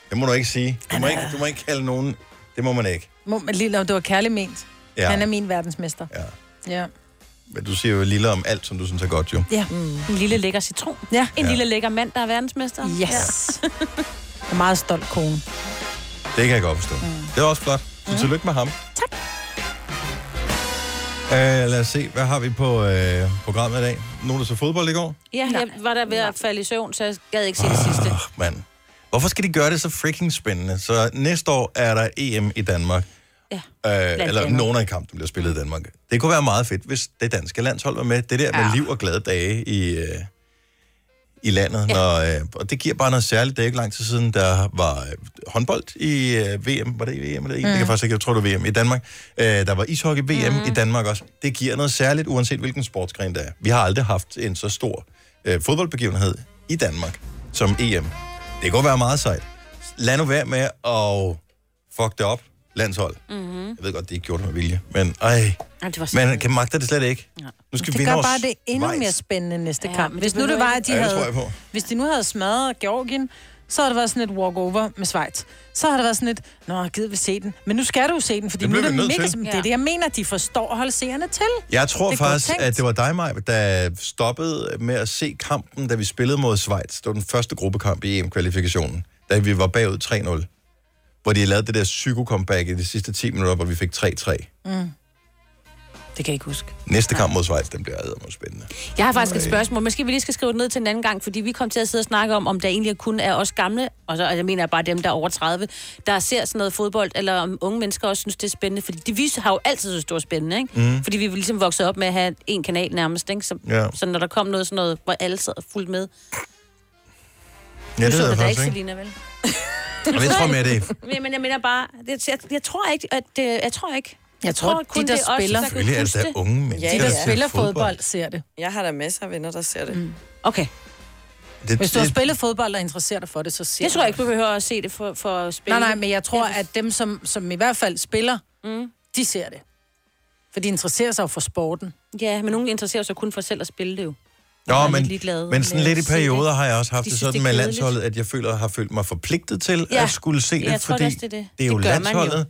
A: Det må du ikke sige. Du må ikke, du må ikke kalde nogen... Det må man ikke.
B: Må man lille, det var kærligt ment.
A: Ja.
B: Ja. Han er min verdensmester.
A: Ja.
B: Ja.
A: Men du siger jo lille om alt, som du synes er godt, jo.
B: Ja.
C: Mm. En lille lækker citron.
B: Ja.
C: En
A: Ja.
C: ja. lille lækker mand, der er verdensmester.
B: Yes. Ja. Jeg er meget stolt kone.
A: Det kan jeg godt forstå. Mm. Det er også flot. Så tillykke med ham. Tak. Øh, lad os se, hvad har vi på øh, programmet i dag? Nogen, der så fodbold i går?
C: Ja, jeg var der ved at falde i søvn, så jeg gad ikke se det
A: Ah.
C: sidste.
A: Åh, mand. Hvorfor skal de gøre det så freaking spændende? Så næste år er der EM i Danmark.
C: Ja.
A: Øh, eller
C: andet.
A: nogen af kampene bliver spillet i Danmark. Det kunne være meget fedt, hvis det danske landshold var med. Det der med liv og glade dage i, øh, i landet. Ja. Når, øh, og det giver bare noget særligt. Det er ikke lang tid siden, der var øh, håndbold i øh, VM. Var det i VM eller i? Mm. Det kan jeg faktisk ikke. Jeg tror, det var VM i Danmark. Øh, der var ishockey-VM mm. i Danmark også. Det giver noget særligt, uanset hvilken sportsgren det er. Vi har aldrig haft en så stor øh, fodboldbegivenhed i Danmark som EM. Det kunne være meget sejt. Lad nu være med at fuck det op, landshold.
C: Mm-hmm.
A: Jeg ved godt, det ikke gjorde det med vilje, men ej,
C: Jamen, det var sådan.
A: man kan magte det slet ikke. Ja. Nu skal vi
B: Det
A: vinde
B: gør
A: over
B: bare det endnu
A: Schweiz.
B: mere spændende næste
C: Ja,
B: ja,
C: men
B: kamp. Hvis
C: det
B: nu det var,
C: behøver
B: at de
A: ikke- Ja, det
B: havde,
A: tror jeg på.
B: hvis de nu havde smadret Georgien, så har det været sådan et walkover med Schweiz. Så har det været sådan et, nå, gider vi se den. Men nu skal du jo se den, fordi
A: Det
B: nu er
A: bliver
B: det
A: vi nødt
B: mega...
A: til.
B: Som, det er det, jeg mener, de forstår at holde seerne til.
A: Jeg tror
B: Det er godt
A: faktisk,
B: tænkt.
A: at det var dig, Maj, der stoppede med at se kampen, da vi spillede mod Schweiz. Det var den første gruppekamp i EM-kvalifikationen, da vi var bagud 3-0. Hvor de lavede det der psyko-comeback i de sidste 10 minutter, hvor vi fik 3-3.
C: Mm. Det kan jeg ikke huske.
A: Næste kamp mod Schweiz, den bliver ædermås spændende.
C: Jeg har faktisk et
A: Ej.
C: spørgsmål. Måske vi lige skal skrive det ned til en anden gang, fordi vi kom til at sidde og snakke om, om der egentlig kun er os gamle, og så og jeg mener bare dem, der er over 30, der ser sådan noget fodbold, eller om unge mennesker også synes, det er spændende. Fordi de, vi har jo altid synes, det var spændende, ikke?
A: Mm.
C: Fordi vi er ligesom vokset op med at have en kanal nærmest, ikke? Så,
A: Ja.
C: så når der kom noget sådan noget, hvor alle sad fuldt med.
A: Ja,
C: Nu
A: det
C: så
A: ved
C: du
A: jeg
C: da
A: faktisk ikke.
C: Selina, vel?
A: Jamen, jeg tror mere, det er-
C: Men- Men jeg mener bare, jeg, jeg, jeg tror ikke, at... øh, Jeg tror ikke.
B: Jeg tror, de, der
C: det er os,
B: spiller-
C: kan
A: Selvfølgelig er det
C: huske
A: da unge mennesker,
B: De, der
A: ser
B: spiller fodbold, ser det.
D: Jeg har da masser af venner, der ser det. Mm.
C: Okay.
A: Det,
B: Hvis du har spillet fodbold og interesserer dig for det, så ser
C: Jeg tror ikke, du behøver at se det for, for at spille.
B: Nej, nej, men jeg tror, at dem, som, som i hvert fald spiller,
C: Mm.
B: de ser det. For de interesserer sig jo for sporten.
C: Ja, men nogen interesserer sig kun for selv at spille det jo.
A: Nå,
C: meget
A: men,
C: ligeglade
A: men sådan
C: med
A: lidt
C: at
A: i
C: se det.
A: perioder har jeg også haft
C: De
A: det, det sådan
C: synes, det er
A: med
C: kedeligt.
A: landsholdet, at jeg føler, har følt mig forpligtet til
C: Ja,
A: at skulle se
C: jeg
A: det,
C: tror
A: fordi
C: også, det er det.
A: det er jo
C: Det gør man jo.
A: landsholdet.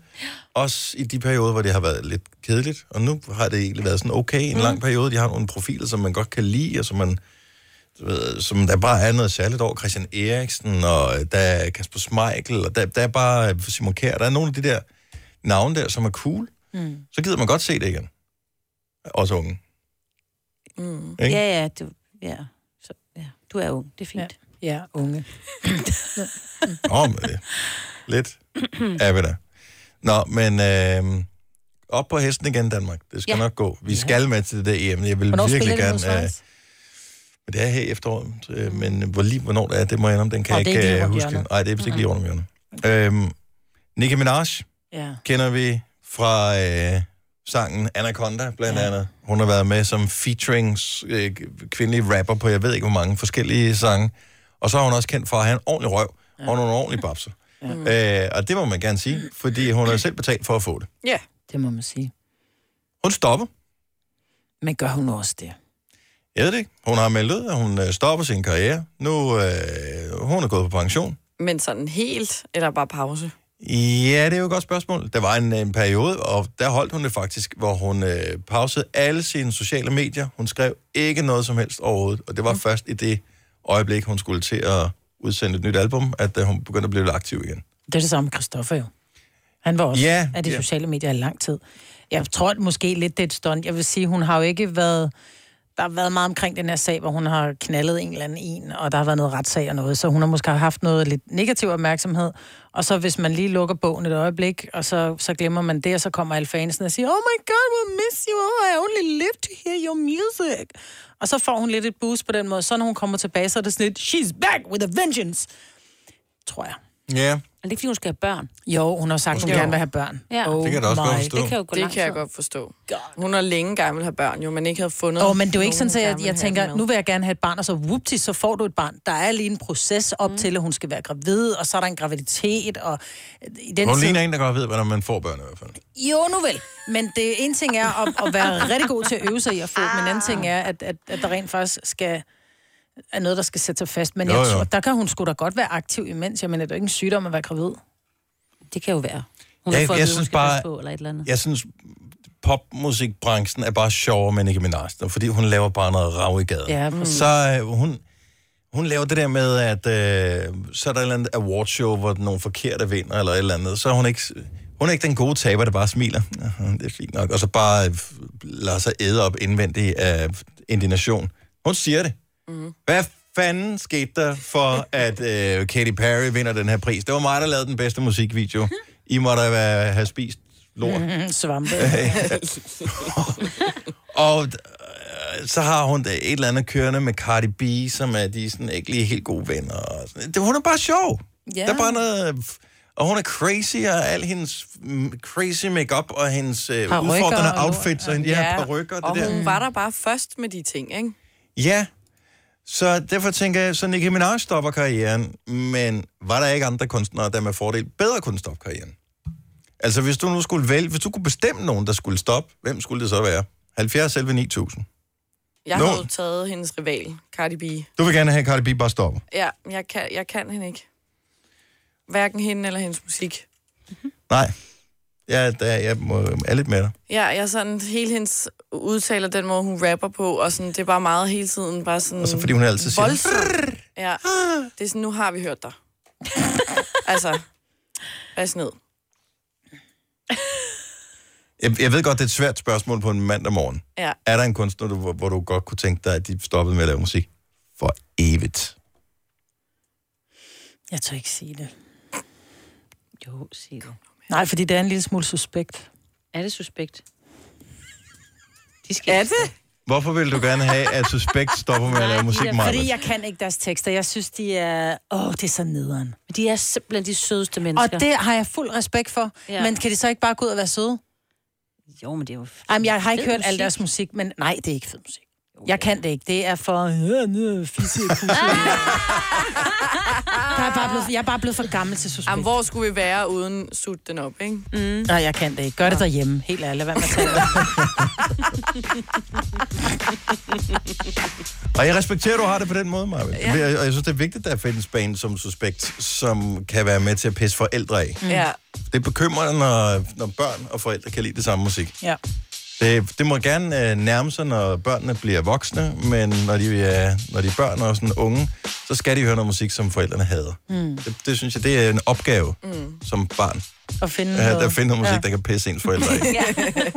A: Også i de perioder, hvor det har været lidt kedeligt, og nu har det egentlig været sådan okay
C: Mm.
A: en lang periode. De har nogle profiler, som man godt kan lide, og som man du ved, som der bare er noget særligt over Christian Eriksen, og øh, der er Kasper Schmeichel, og der, der er bare øh, Simon Kjær. Der er nogle af de der navne der, som er cool.
B: Mm.
A: Så gider man godt se det igen. Også unge.
C: Mm.
A: Ikke?
C: Ja, ja, du, ja. Så, ja. du er ung, det er fint.
B: Ja, unge.
A: Nå, men det. Lidt er vi da. Nå, men øh, op på hesten igen, Danmark. Det skal
B: Ja.
A: ja. nok gå. Vi skal med til det der EM. Jeg vil
B: Hvornår spiller
A: virkelig
B: de mod
A: gerne... Øh,
B: Schweiz?
A: men det er her i efteråret, øh, men hvor lige, hvornår det er, det må jeg indrømme, den kan
B: Og
A: jeg
B: det er
A: ikke
B: lige
A: øh,
B: rundt
A: huske.
B: hjørnet.
A: Nej, det er vist ikke lige rundt om hjørnet. Øhm, Nicki Minaj
B: Ja.
A: kender vi fra øh, sangen Anaconda, blandt ja. andet. Hun har været med som featuring øh, kvindelig rapper på, jeg ved ikke hvor mange forskellige sange. Og så har hun også kendt for at have en ordentlig røv ja. og nogle ordentlige babser. Ja. Øh, og det må man gerne sige, fordi hun har selv betalt for at få det.
D: Ja.
B: Det må man sige.
A: Hun stopper.
B: Men gør hun også det?
A: Jeg ved det ikke. Hun har meldt ud, at hun øh, stopper sin karriere. Nu øh, hun er gået på pension.
D: Men sådan helt, eller bare pause?
A: Ja, det er jo et godt spørgsmål. Der var en, øh, en periode, og der holdt hun det faktisk, hvor hun øh, pausede alle sine sociale medier. Hun skrev ikke noget som helst overhovedet, og det
B: Mm.
A: var først i det øjeblik, hun skulle til at udsende et nyt album, at øh, hun begyndte at blive lidt aktiv igen.
B: Det er det samme med Christoffer jo. Han var også
A: Ja,
B: ja, af de
A: ja.
B: sociale medier i lang tid. Jeg tror at måske lidt, det er et stunt. Jeg vil sige, hun har jo ikke været... Der har været meget omkring den her sag, hvor hun har knaldet en eller anden en, og der har været noget retssag og noget, så hun har måske haft noget lidt negativ opmærksomhed. Og så hvis man lige lukker bogen et øjeblik, og så, så glemmer man det, og så kommer alle fansen og siger, Oh my god, we'll miss you, oh, I only live to hear your music. Og så får hun lidt et boost på den måde, så når hun kommer tilbage, så er det sådan lidt, She's back with a vengeance, tror jeg.
A: Ja.
C: Er det ikke, fordi hun skal have børn?
B: Jo, hun har sagt, hun
D: Måske.
B: gerne vil have børn.
C: Ja.
B: Oh
A: Det kan jeg da også
B: my.
A: godt forstå. Det kan jo
C: gå
D: det
C: lang
D: kan jeg
C: tid.
D: godt forstå. Hun har længe gerne vil have børn, jo, men ikke havde fundet...
B: Åh, oh, men det er jo ikke
D: nogen,
B: sådan, at
D: hun
B: jeg,
D: gerne
B: jeg
D: ville
B: tænker,
D: have med.
B: nu vil jeg gerne have et barn, og så whoopty, så får du et barn. Der er lige en proces op mm. til, at hun skal være gravid, og så er der en graviditet, og i den
A: Den hun
B: tid...
A: ligner en, der godt ved, hvordan man får børn i hvert fald.
B: Jo, nu vel. Men det en ting er at, at være rigtig god til at øve sig i at få, men en anden ting er, at, at, at der rent faktisk skal er noget, der skal sætte sig fast. Men
A: Jo,
B: jo, jeg
A: jo.
B: tror, der kan hun sgu da godt være aktiv imens. Jeg mener, det er jo ikke en sygdom at være gravid.
C: Det kan jo være.
A: Hun har Jeg- fået at jeg vide, hun synes skal bare- passe
C: på, eller et eller andet.
A: Jeg synes, popmusikbranchen er bare sjovere med Nicki Minaj, fordi hun laver bare noget rav i gaden.
B: Ja, præcis.
A: så øh, hun, hun laver det der med, at øh, så er der et eller andet awardshow, hvor nogle forkerte vinder, eller et eller andet. Så er hun ikke, hun er ikke den gode taber, der bare smiler. "Aha, Det er fint nok. Og så bare øh, lader sig æde op indvendigt af indignation. Hun siger det. Mm. Hvad fanden skete der for, at øh, Katy Perry vinder den her pris? Det var mig, der lavede den bedste musikvideo. I må da være, have spist lort.
B: Svampe.
A: og, øh, så har hun da et eller andet kørende med Cardi B, som er de er sådan ikke lige helt gode venner. Og sådan. Det, hun er bare sjov.
B: Ja.
A: Der er bare noget... Og hun er crazy, og al hendes mm, crazy makeup og hendes øh,
D: Parykker
A: udfordrende
D: og-
A: outfits og, og de her parykker og,
D: og
A: det der.
D: hun var der bare først med de ting, ikke?
A: Ja, så derfor tænker jeg, så Nicki Minaj stopper karrieren, men var der ikke andre kunstnere, der med fordel bedre kunne stoppe karrieren? Altså, hvis du nu skulle vælge, hvis du kunne bestemme nogen, der skulle stoppe, hvem skulle det så være? 70 selv 9000.
D: Jeg
A: Nå.
D: har jo taget hendes rival, Cardi B.
A: Du vil gerne have Cardi B bare stopper.
D: Ja, jeg kan, jeg kan hende ikke. Hverken hende eller hendes musik.
A: Nej. Ja, der, jeg må, er lidt med dig.
D: Ja, jeg er sådan, hele hendes udtaler, den måde, hun rapper på, og sådan, det er bare meget hele tiden, bare sådan...
A: Og så fordi hun altid siger-
D: voldsomt. Ja, det er sådan, nu har vi hørt dig. altså, pas ned.
A: Jeg, jeg ved godt, det er et svært spørgsmål på en mandag morgen.
D: Ja.
A: Er der en kunstner, du, hvor, hvor du godt kunne tænke dig, at de stoppede med at lave musik? For evigt.
B: Jeg tør ikke sige det.
C: Jo, sig det.
B: Nej, fordi det er en lille smule suspekt.
C: Er det suspekt?
B: De skal er det?
A: Hvorfor vil du gerne have, at Suspekt stopper med at lave musik, Maja?
B: Fordi jeg kan ikke deres tekster. Jeg synes, de er... Åh, det er så nederen.
C: De er simpelthen de sødeste mennesker.
B: Og det har jeg fuld respekt for.
C: Ja.
B: Ja. Men kan de så ikke bare gå ud og være søde?
C: Jo, men det er jo...
B: Ej, men jeg har ikke
C: Fed
B: hørt al
C: musik.
B: deres musik, men nej, det er ikke fed musik. Jeg kan det ikke. Det er for... Ja, nu er fisse og kusse. Der er bare blevet, jeg er bare blevet for gammel til suspekt.
D: Jamen, hvor skulle vi være uden sut den op, ikke? Mm.
B: Nej, jeg kan det ikke. Gør det derhjemme. Helt ærligt. Hvad man
A: Og jeg respekterer, at du har det på den måde, Maja.
D: Ja.
A: Ja. Og jeg synes, det er vigtigt, at der findes band som Suspekt, som kan være med til at pisse forældre af.
D: Ja.
A: Det bekymrer, når, når børn og forældre kan lide det samme musik.
B: Ja.
A: Det, det må gerne øh, nærme sig, når børnene bliver voksne, men når de, er, når de er børn og sådan unge, så skal de høre noget musik, som forældrene hader. Mm. Det, det synes jeg, det er en opgave mm. som barn.
B: At finde
A: Ja, der
B: noget.
A: finder noget musik, ja. der kan pisse ens forældre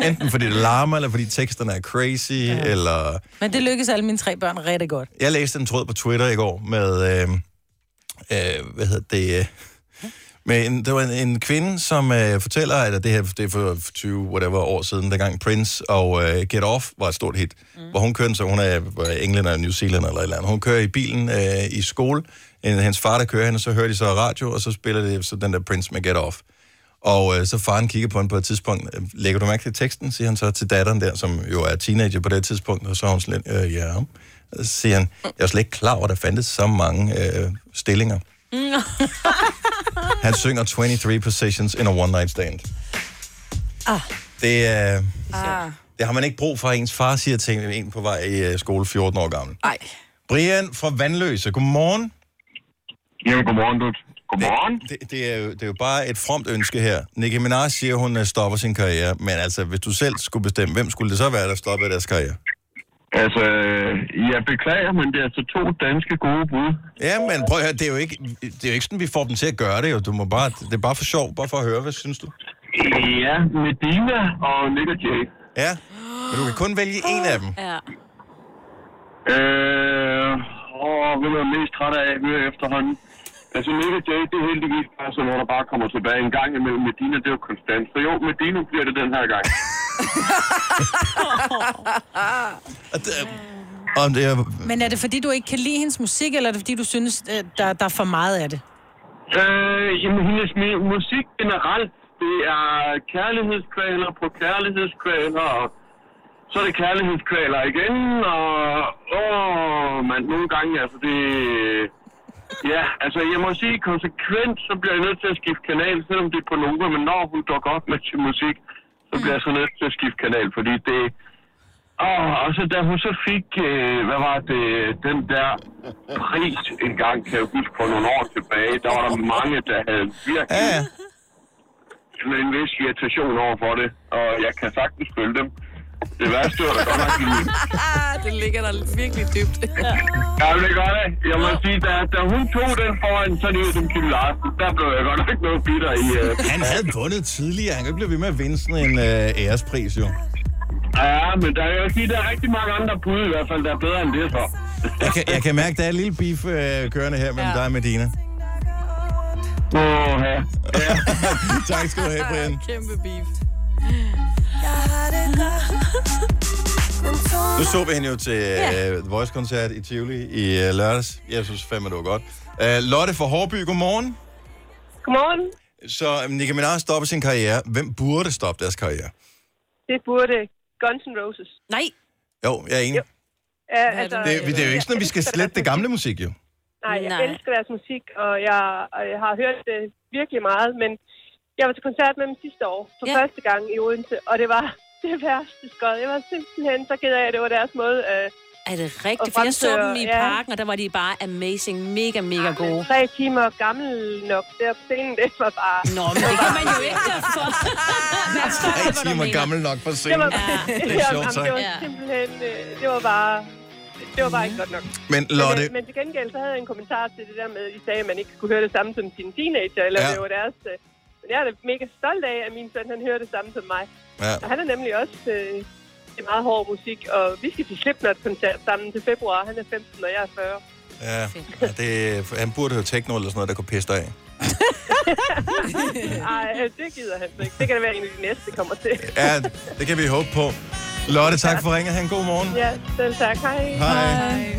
A: af. Enten fordi det larmer, eller fordi teksterne er crazy, ja. eller...
B: Men det lykkedes alle mine tre børn rigtig godt.
A: Jeg læste en tråd på Twitter i går med, øh, øh, hvad hedder det, øh, med en, det var en, en kvinde, som øh, fortæller, at det her det er for 20 whatever år siden, dengang Prince og øh, Get Off var et stort hit, mm. hvor hun kørte, så hun er øh, englænder eller New Zealand eller et eller andet. Hun kører i bilen øh, i skole, en, hendes far der kører hende, og så hører de så radio, og så spiller det så den der Prince med Get Off. Og øh, så faren kigger på hende på et tidspunkt. øh, Lægger du mærke til teksten, siger han så til datteren der, som jo er teenager på det tidspunkt, og så er hun slet, øh, ja. Så siger han, jeg er slet ikke klar over, at der fandtes så mange øh, stillinger. Han synger 23 positions in a one night stand.
B: Ah.
A: Det, øh,
D: Ah.
A: det har man ikke brug for, ens far siger til en- en på vej i øh, skole 14 år gammel.
D: Nej.
A: Brian fra Vandløse, godmorgen.
L: Jamen, godmorgen, du. Godmorgen.
A: Det, det, det, er jo, det er jo bare et fromt ønske her. Nicki Minaj siger, hun øh, stopper sin karriere, men altså, hvis du selv skulle bestemme, hvem skulle det så være, der stoppede deres karriere?
L: Altså, øh, jeg beklager, men det er altså to danske gode bud.
A: Ja, men prøv at høre, det er, jo ikke, det er jo ikke sådan, vi får dem til at gøre det, jo. Du må bare, det er bare for sjov, bare for at høre, hvad synes du?
L: Ja, Medina og Nick og Jay.
A: Ja, men du kan kun vælge en af dem.
C: Ja.
L: Øh, og hvem er jeg mest træt af nu efterhånden? Altså, Nick og Jay, det er heldigvis bare sådan, hvor der bare kommer tilbage en gang imellem. Medina, det er jo konstant. Så jo, Medina bliver det den her gang.
A: Og øh, det er,
B: Men er det fordi, du ikke kan lide hendes musik, eller er det fordi, du synes, øh, der, der er for meget af det?
L: Øh, jamen, hendes mi- musik generelt, det er kærlighedskvaler på kærlighedskvaler, og så er det kærlighedskvaler igen, og åh, mand, nogle gange, altså det... Ja, altså jeg må sige, konsekvent, så bliver jeg nødt til at skifte kanal, selvom det er på Nova, men når hun dukker op med sin musik, så bliver jeg så nødt til at skifte kanal, fordi det... Åh, og så da hun så fik, øh, hvad var det, den der pris engang, kan jeg huske, for nogle år tilbage, der var der mange, der havde virkelig ja. en vis irritation over for det, og jeg kan sagtens følge dem. Det værste var da godt nok i
D: Ah, det ligger der virkelig dybt.
L: Ja, det er godt af. Jeg må sige, da, da hun tog den foran, så lige som Kim Larsen, der blev jeg godt nok noget bitter i. Uh...
A: Han havde vundet tidligere, han kan ikke blive ved med at vinde sådan en øh, ærespris, jo.
L: Ja, men der, jeg vil sige, der er rigtig mange andre bud i hvert fald, der er bedre end det så.
A: Jeg kan, jeg kan mærke, der er en lille beef øh, kørende her mellem ja. dig og Medina.
L: Åh, ja.
A: tak skal du have, Brian.
D: Kæmpe beef.
A: Nu så vi hende jo til yeah. uh, The Voice-koncert i Tivoli i uh, lørdags. Jeg synes fandme, det var godt. Uh, Lotte fra Hårby, godmorgen.
M: Godmorgen.
A: Så um, Nicki Minaj stopper sin karriere. Hvem burde stoppe deres karriere?
M: Det burde Guns N' Roses.
C: Nej.
A: Jo, jeg er enig.
M: Ja, altså,
A: Det, det, det er jo ikke sådan, at vi skal slette det gamle musik, jo.
M: Nej, jeg
C: Nej.
M: elsker deres musik, og jeg, og jeg har hørt det virkelig meget, men jeg var til koncert med dem sidste år, for ja. første gang i Odense, og det var det værste skod. Jeg var simpelthen så ked af, at det var deres måde. Øh,
C: Er det rigtigt?
M: Og
C: For jeg så
M: fremfører,
C: dem i
M: øh, ja.
C: parken, og der var de bare amazing, mega, mega gode.
M: tre timer gammel nok der på scenen, det var bare...
C: Nå, men det kan man jo ikke derfor.
A: Tre timer gammel nok for
M: Det
A: scenen.
M: var,
A: Det er sjovt,
M: jamen, det var
A: tak.
M: simpelthen, øh, det var bare, det var bare ikke godt nok.
A: Men Lotte,
M: Men, øh, men til gengæld, så havde jeg en kommentar til det der med, at de sagde, at man ikke skulle høre det samme som sine teenager, eller
A: Ja.
M: ja. det var deres... øh, Men jeg er da mega stolt af, at min søn, han hører det samme som mig.
A: Ja.
M: Og han er nemlig også øh, til meget hård musik, og vi skal til Slipknot-koncert sammen til februar. Han er 15, og jeg er 40.
A: ja, ja, det, han burde høre techno eller sådan noget, der kunne pisse dig af.
M: Ej, øh, det gider han så ikke. Det kan da være en af de næste, kommer til.
A: Ja, det kan vi håbe på. Lotte, tak for ringet. Han god morgen.
M: Ja, selv tak. Hej.
A: Hej.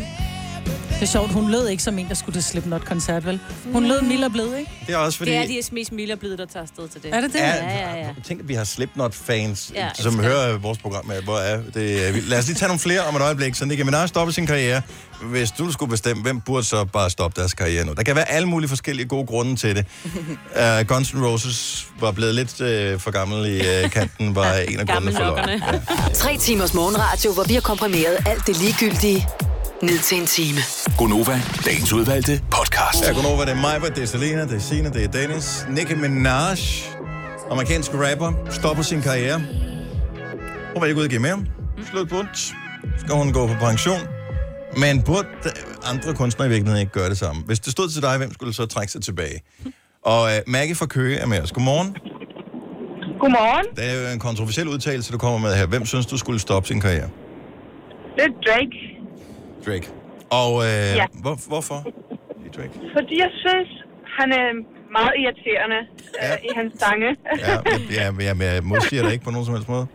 B: Det er sjovt, hun lød ikke som en, der skulle til Slipknot-koncert, vel? Hun lød mild og blid, ikke?
A: Det er også fordi...
C: Det er de mest milde og blide, der tager afsted til det.
B: Er det det?
A: Ja,
C: Ja, ja, ja.
A: Tænk, at vi har Slipknot-fans,
C: Ja,
A: ja, som
C: elsker.
A: hører vores program. Ja, Hvor er det? er vildt. Lad os lige tage nogle flere om et øjeblik, så Nicki Minaj stopper sin karriere. Hvis du skulle bestemme, hvem burde så bare stoppe deres karriere nu? Der kan være alle mulige forskellige gode grunde til det. Uh, Guns N' Roses var blevet lidt uh, for gammel i uh, kanten, var en af grundene for løgn.
E: Tre timers morgenradio, hvor vi har komprimeret alt det ligegyldige ned til en time.
A: Gonova, dagens udvalgte podcast. Ja, Gonova, det er Majbert, det er Selena, det er Sina, det er Dennis. Nicki Minaj, amerikansk rapper, stopper sin karriere. Hun var ikke ude at give mere. Slut bundt. Skal hun gå på pension? Men burde andre kunstnere i virkeligheden ikke gøre det samme? Hvis det stod til dig, hvem skulle så trække sig tilbage? Og øh, Maggie fra Køge er med os. Godmorgen.
N: Godmorgen.
A: Det er jo en kontroversiel udtalelse, du kommer med her. Hvem synes, du skulle stoppe sin karriere?
N: Det er Drake,
A: Drake. Og øh, ja.
N: Ja.
A: hvor, hvorfor? Drake.
N: fordi jeg synes, han er meget irriterende ja. øh, i hans sange.
A: Ja, jeg, jeg, jeg, jeg modsiger dig ikke på nogen som helst måde.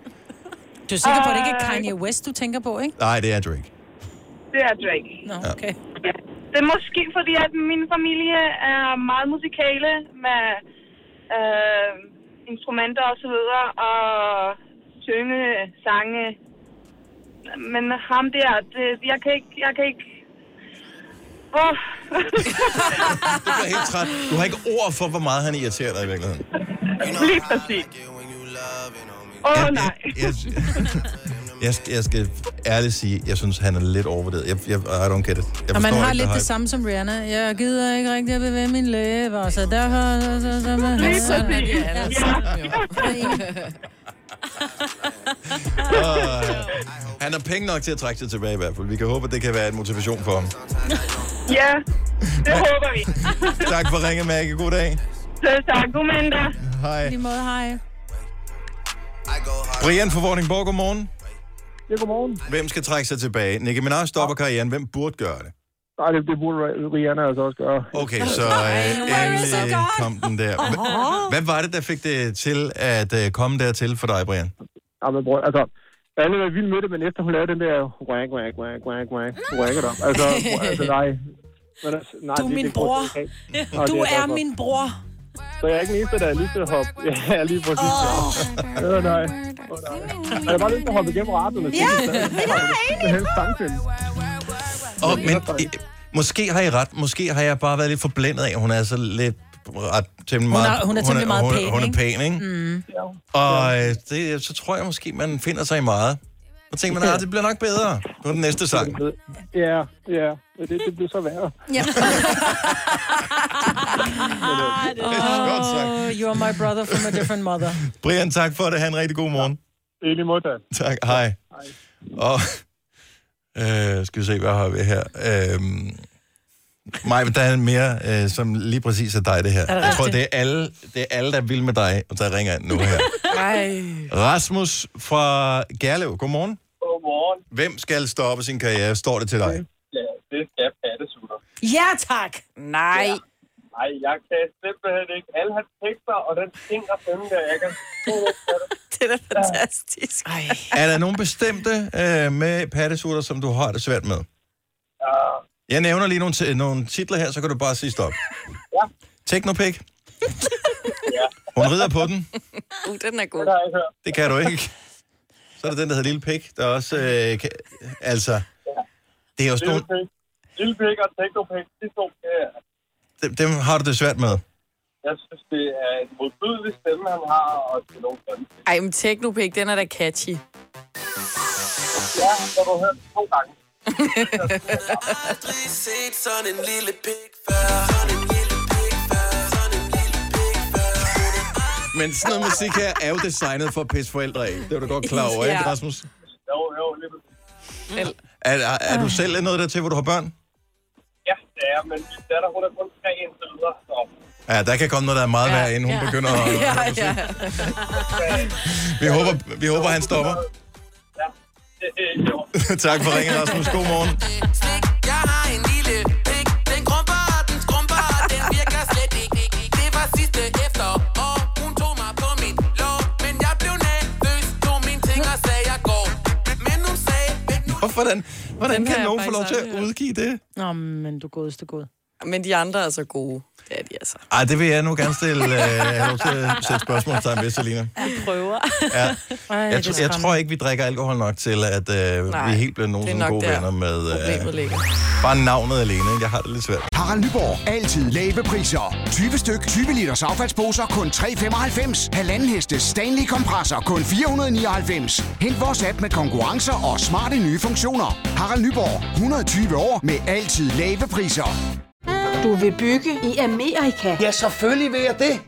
B: Du er sikker på, at det ikke er Kanye West, du tænker på, ikke?
A: Nej, det er Drake.
N: Det er Drake.
B: Nå, okay.
N: Ja. Det er måske fordi, at min familie er meget musikale med øh, instrumenter og så videre, og synge, sange. Men ham der, det, jeg kan ikke... Jeg kan ikke Åh.
A: Du bliver helt træt. Du har ikke ord for, hvor meget han irriterer dig i virkeligheden.
N: Lige præcis. Åh, oh, nej.
A: Jeg, jeg, jeg skal ærligt sige, jeg synes, han er lidt overvurderet. Jeg, jeg, I don't get it. Jeg
B: og man
A: forstår
B: har
A: ikke,
B: lidt
A: der
B: det samme som Rihanna. Jeg gider ikke rigtig at bevæge min læber, så derfor... Så, så, så, så,
N: Lige
B: så, sådan er det.
N: præcis.
A: Åh, ja. Han har penge nok til at trække sig tilbage i hvert fald. Vi kan håbe, at det kan være en motivation for ham.
N: Ja, det håber vi.
A: Tak for ringe, Maggie. God dag.
N: Selv tak. God mandag.
A: Hej.
B: Lige måde, hej.
A: Brian fra Vordingborg, godmorgen.
O: Ja, godmorgen.
A: Hvem skal trække sig tilbage? Nicki Minaj stopper karrieren. Hvem burde gøre det?
O: Nej, det, det burde Rihanna altså også gøre.
A: Okay, så øh, endelig kom den der. Hva- Hvad var det, der fik det til at øh, komme dertil for dig, Brian?
O: Ja, men bror, altså, alle var vildt med det, men efter hun lavede den der wank, wank, wank, wank, wank, wank it up. Altså, bror, altså nej. Men, altså, nej
B: Du er
O: det-
B: min
O: det
B: bror.
O: det ikke. Nej,
B: Du
O: det jeg
B: er
O: glad for.
B: min bror.
O: Så jeg er ikke den eneste, der er lige til at hoppe. Ja, lige præcis. Oh. Ja, nej. Åh, nej. Og Jeg var lige til at hoppe igennem radioen.
N: Ja,
O: jeg er enig. Det er sangfilm.
A: Og, men, øh, måske har I ret. Måske har jeg bare været lidt forblændet af, at hun er så lidt ret temmelig
B: Hun er-
A: meget...
B: hun er temmelig meget
A: hun,
B: pæn,
A: Hun er
B: ikke?
A: pæn, ikke?
B: Mm.
A: Og øh, det, så tror jeg måske, man finder sig i meget. Og tænker man, at det bliver nok bedre på den næste sang.
O: Ja, ja. Det, det blev så værre.
B: Ja. oh, you are my brother from a different mother.
A: Brian, tak for det. Ha' en rigtig god morgen.
O: I lige måde, Dan.
A: Tak, hej. Og øh, skal vi se, hvad har vi her? Øh, Maj, men der er en mere, øh, som lige præcis er dig, det her.
N: Er det
A: Jeg tror, det er
N: rigtigt?
A: alle, det er alle der vil med dig, og der ringer ind nu her.
N: Hej.
A: Rasmus fra Gerlev, godmorgen.
N: Godmorgen.
A: Hvem skal stoppe sin karriere? Står det til dig?
N: Ja, det skal pattesutter.
B: Ja, tak.
N: Nej. Nej, jeg kan simpelthen ikke. Alle hans tekster og den ting og dem der, jeg kan...
D: det er da fantastisk. Ej.
A: Er der nogen bestemte øh, med pattesutter, som du har det svært med? Jeg nævner lige nogle, ti- nogle titler her, så kan du bare sige stop.
L: Ja.
A: Teknopik. Hun rider på den.
D: Uh, den er god.
A: Det kan du ikke. Så er der den, der hedder Lille Pik, der også øh, kan, Altså, det er jo sådan nogle...
L: Lille pik. Lille pik og teknopik, de to, øh,
A: Dem, dem har du det svært med.
L: jeg synes, det er en modbydelig stemme, han har, og det er nogle grimme.
D: Ej, men Teknopik, den er da catchy.
L: Ja, så har du hørt to gange.
P: aldrig set sådan en lille pik før. Sådan en lille pik før. Sådan en lille pik før.
A: Men sådan noget musik her er jo designet for at pisse forældre af. Det er du godt klar over, ikke,
L: Ja.
A: Rasmus?
L: Jo, jo, lige præcis.
A: Er, er, er du selv noget der til, hvor du har børn?
L: Ja, det er, men min datter, hun er kun tre indtil videre, så...
A: Ja, der kan komme noget, der er meget værre, inden hun begynder at...
L: ja, ja.
A: Vi håber, vi håber han stopper. tak for ringen, Rasmus. God morgen.
P: Slik, jeg har en lille pik. Den grumper, og den skrumper, og den virker slet ikke. Det var sidste efterår. Hun tog mig på mit lår, men jeg blev nervøs. Tog mine ting og sagde, jeg går. Men hun sagde,
A: Hvordan, hvordan
D: Den har
A: kan
D: jeg
A: nogen få
D: faktisk
A: lov til
D: aldrig
A: at udgive det?
D: Nå, men du godeste god. Men de andre er så gode. Det er de altså.
A: Ej, det vil jeg nu gerne stille, øh, have lov til at sætte spørgsmålstegn ved, Selina.
D: Vi prøver.
A: Ja.
D: Ej,
A: Jeg, tr- jeg tror ikke, vi drikker alkohol nok til, at øh,
F: Nej,
A: vi helt bliver nogen
F: det er
A: sådan
F: nok
A: gode
F: der,
A: venner med
F: problemet
A: øh,
F: ligger.
A: bare navnet alene. ikke? Jeg har det lidt svært.
F: Harald Nyborg. Altid lave priser. 20 styk, 20 liters affaldsposer kun 3,95. Halvanden heste Stanley kompresser kun 499. Hent vores app med konkurrencer og smarte nye funktioner. Harald Nyborg. 120 år med altid lave priser.
Q: Du vil bygge i Amerika? Ja, selvfølgelig vil jeg det.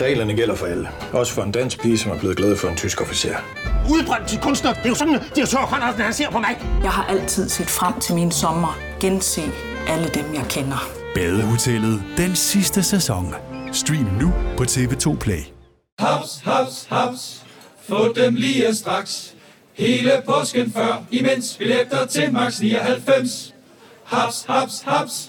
R: Reglerne gælder for alle. Også for en dansk pige, som er blevet glad for en tysk officer.
S: Udbrændt til kunstner. Det er jo sådan, at de har han ser på mig. Jeg har altid set frem til min sommer. Gense alle dem, jeg kender.
T: Badehotellet den sidste sæson. Stream nu på TV2 Play.
K: Haps, haps, haps. Få dem lige straks. Hele påsken før, imens billetter til max 99. Haps, haps, haps.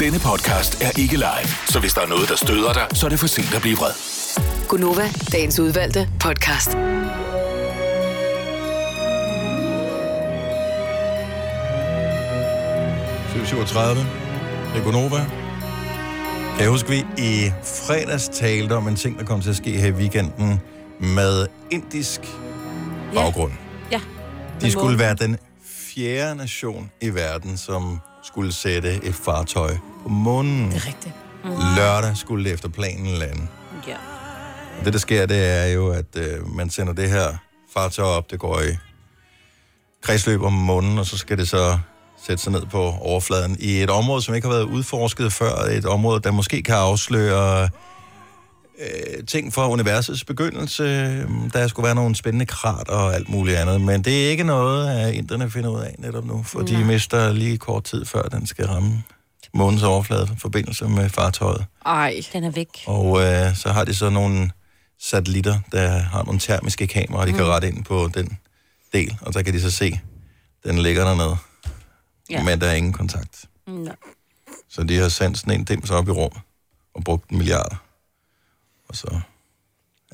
U: Denne podcast er ikke live, så hvis der er noget, der støder dig, så er det for sent at blive vred.
E: Gunova, dagens udvalgte podcast.
A: Så er vi 37. Det er Gunova. Kan jeg huske, vi i fredags talte om en ting, der kom til at ske her i weekenden med indisk baggrund.
C: Ja.
A: De skulle være den fjerde nation i verden, som skulle sætte et fartøj på månen. Det er
B: rigtigt.
A: Mm. Lørdag skulle det efter planen lande.
C: Ja.
A: Og Det, der sker, det er jo, at øh, man sender det her fartøj op, det går i kredsløb om månen, og så skal det så sætte sig ned på overfladen i et område, som ikke har været udforsket før, et område, der måske kan afsløre øh, ting fra universets begyndelse. Der skulle være nogle spændende krat og alt muligt andet, men det er ikke noget, at inderne finder ud af netop nu, for de mister lige kort tid før, den skal ramme månens overflade i forbindelse med fartøjet.
D: Ej.
C: Den er væk.
A: Og øh, så har de så nogle satellitter, der har nogle termiske kameraer, de kan
B: Mm.
A: rette ind på den del, og så kan de så se, den ligger dernede.
C: Ja.
A: Ja. Men der er ingen kontakt.
C: Nå.
A: Så de har sendt sådan en dims op i rum og brugt milliarder. Og så...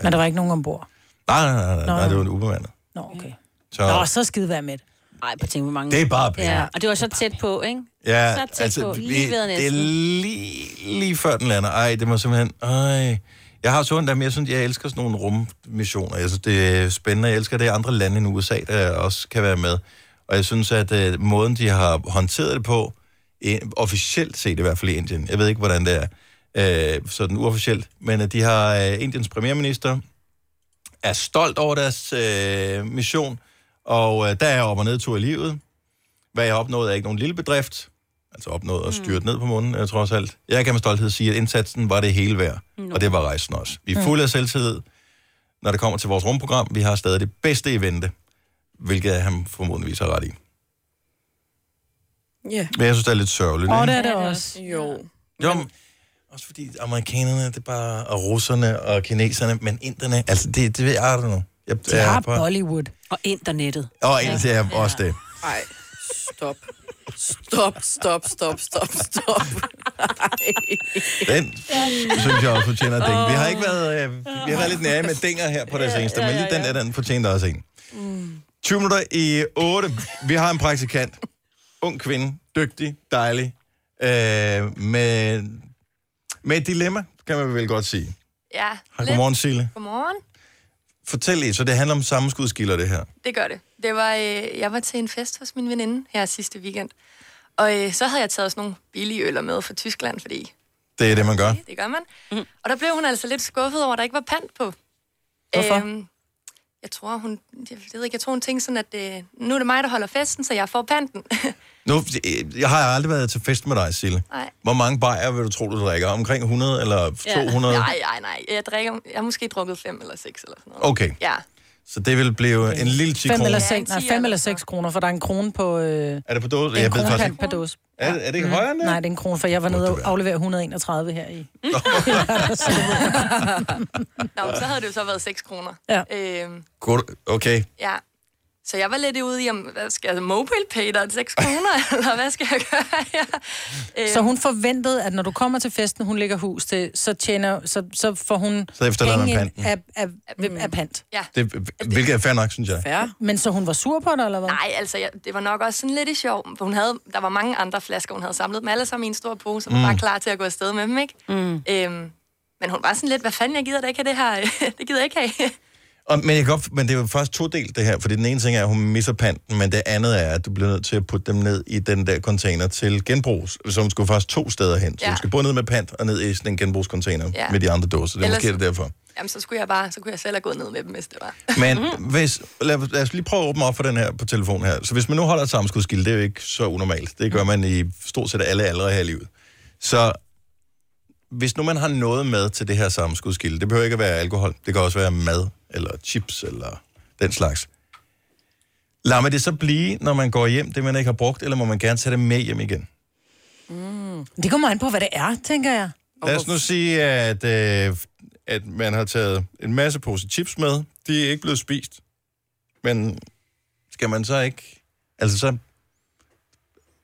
B: Men der var ikke nogen ombord.
A: Nej, nej, nej, nej,
B: Nå.
A: nej det var en ubemandet.
B: Nå, okay.
A: Så,
B: Nå, så skide være med.
C: Ej, på tænke, hvor mange...
A: Det er bare penge.
C: Ja, og det var så tæt på, ikke?
A: ja,
C: så tæt
A: altså,
C: på.
A: lige,
C: Lige ved
A: det er
C: næsten.
A: lige, lige før den lander. Ej, det må simpelthen... Ej. Jeg har sådan dem, jeg synes, jeg elsker sådan nogle rummissioner. Jeg synes, det er spændende. Jeg elsker, at det er andre lande end USA, der også kan være med. Og jeg synes, at øh, måden, de har håndteret det på, øh, officielt set i hvert fald i Indien, jeg ved ikke, hvordan det er, øh, sådan uofficielt, men at de har øh, Indiens premierminister, er stolt over deres øh, mission, og øh, der er op- og nedtur i livet. Hvad jeg har opnået er ikke nogen lille bedrift, altså opnået at styrte
D: Mm.
A: ned på munden, øh, trods alt. Jeg kan med stolthed sige, at indsatsen var det hele værd, no. og det var rejsen også.
D: Mm.
A: Vi er fulde af selvtillid, når det kommer til vores rumprogram. Vi har stadig det bedste i vente, hvilket han formodentligvis har ret i.
D: Ja.
A: Men jeg synes, det er lidt sørgeligt.
D: Åh,
A: ikke?
D: det er det også. Jo.
A: Jo, men, også fordi amerikanerne, det er bare, og russerne og kineserne, men inderne, altså det, det ved jeg aldrig nu. Jeg,
B: De
A: jeg er
B: har
A: på-
B: Bollywood. Og internettet.
A: Og en til er også det.
D: Nej, stop. Stop, stop, stop, stop, stop.
A: Den synes jeg også fortjener et ding. Vi har ikke været, øh, vi har været lidt nære med dinger her på det seneste, men lige den der, den fortjente også en. 20 minutter i 8. Vi har en praktikant. Ung kvinde. Dygtig. Dejlig. Øh, med, med et dilemma, kan man vel godt sige.
G: Ja.
A: Hej,
G: lidt.
A: godmorgen, Sille.
G: Godmorgen.
A: Fortæl lige, så det handler om sammenskudskilder, det her.
G: Det gør det. det var, øh, jeg var til en fest hos min veninde her sidste weekend. Og øh, så havde jeg taget sådan nogle billige øller med fra Tyskland, fordi
A: Det er det, man gør.
G: det gør man. Mm. Og der blev hun altså lidt skuffet over, at der ikke var pant på.
A: Hvorfor?
G: Øhm, jeg tror, hun, jeg ved ikke, jeg tror, hun tænkte sådan, at øh, nu er det mig, der holder festen, så jeg får panten.
A: Nu, øh, jeg har aldrig været til fest med dig, Sille.
G: Nej.
A: Hvor mange bajer vil du tro, du drikker? Omkring 100 eller 200?
G: Ja. Nej, nej, nej. Jeg, drikker, jeg har måske drukket fem eller seks eller sådan noget.
A: Okay.
G: Ja.
A: Så det vil blive en lille 10
B: 5
A: kroner.
B: eller 6, nej, 5 eller 6 kroner, for der er altså- en krone på... Øh,
A: Er det på dåse?
B: en
A: Jeg ved
B: krone
A: faktisk
B: pant
A: ikke.
B: per dåse. Mm.
A: Er, er det ikke højere end det?
B: Nej, det er en krone, for jeg var nede og aflevere 131 her i.
G: Nå, men så havde det jo så været 6 kroner.
B: Ja.
G: Øhm,
A: Godt, okay.
G: ja. Så jeg var lidt ude i, om, hvad skal jeg, mobile pay, der er 6 kroner, eller hvad skal jeg gøre her? Øhm,
B: Så hun forventede, at når du kommer til festen, hun lægger hus til, så, tjener, så, så får hun
A: Så efterlader man
B: penge ind
A: panten.
B: af, af, af, af pant.
G: Ja.
A: Det, hvilket er fair nok, synes jeg.
G: Fair.
B: Men så hun var sur på dig, eller hvad?
G: Nej, altså, jeg, det var nok også sådan lidt i sjov. For hun havde, der var mange andre flasker, hun havde samlet dem alle sammen i en stor pose, og var
A: Mm.
G: bare klar til at gå afsted med dem, ikke? Mm. Øhm, men hun var sådan lidt, hvad fanden, jeg gider da ikke have det her. det gider jeg ikke have.
A: Og, men, jeg kan godt, men det er jo først to del, det her. Fordi den ene ting er, at hun misser panten, men det andet er, at du bliver nødt til at putte dem ned i den der container til genbrug. Så hun skulle faktisk to steder hen. Så
G: Ja.
A: hun skal både ned med pant og ned i sådan en genbrugscontainer
G: Ja.
A: med de andre dåser. Det er
G: Ellers-
A: måske det derfor.
G: Jamen, så skulle jeg bare, så kunne jeg selv have gået ned med dem, hvis det var.
A: Men hvis, lad, lad os lige prøve at åbne op for den her på telefonen her. Så hvis man nu holder et sammenskudskilde, det er jo ikke så unormalt. Det gør man i stort set alle aldre her i livet. Så hvis nu man har noget med til det her sammenskudskilde, det behøver ikke at være alkohol, det kan også være mad, eller chips, eller den slags. Lad mig det så blive, når man går hjem, det man ikke har brugt, eller må man gerne tage det med hjem igen?
B: Mm. Det kommer an på, hvad det er, tænker jeg.
A: Lad os nu sige, at, øh, at man har taget en masse pose chips med. De er ikke blevet spist. Men skal man så ikke... Altså så...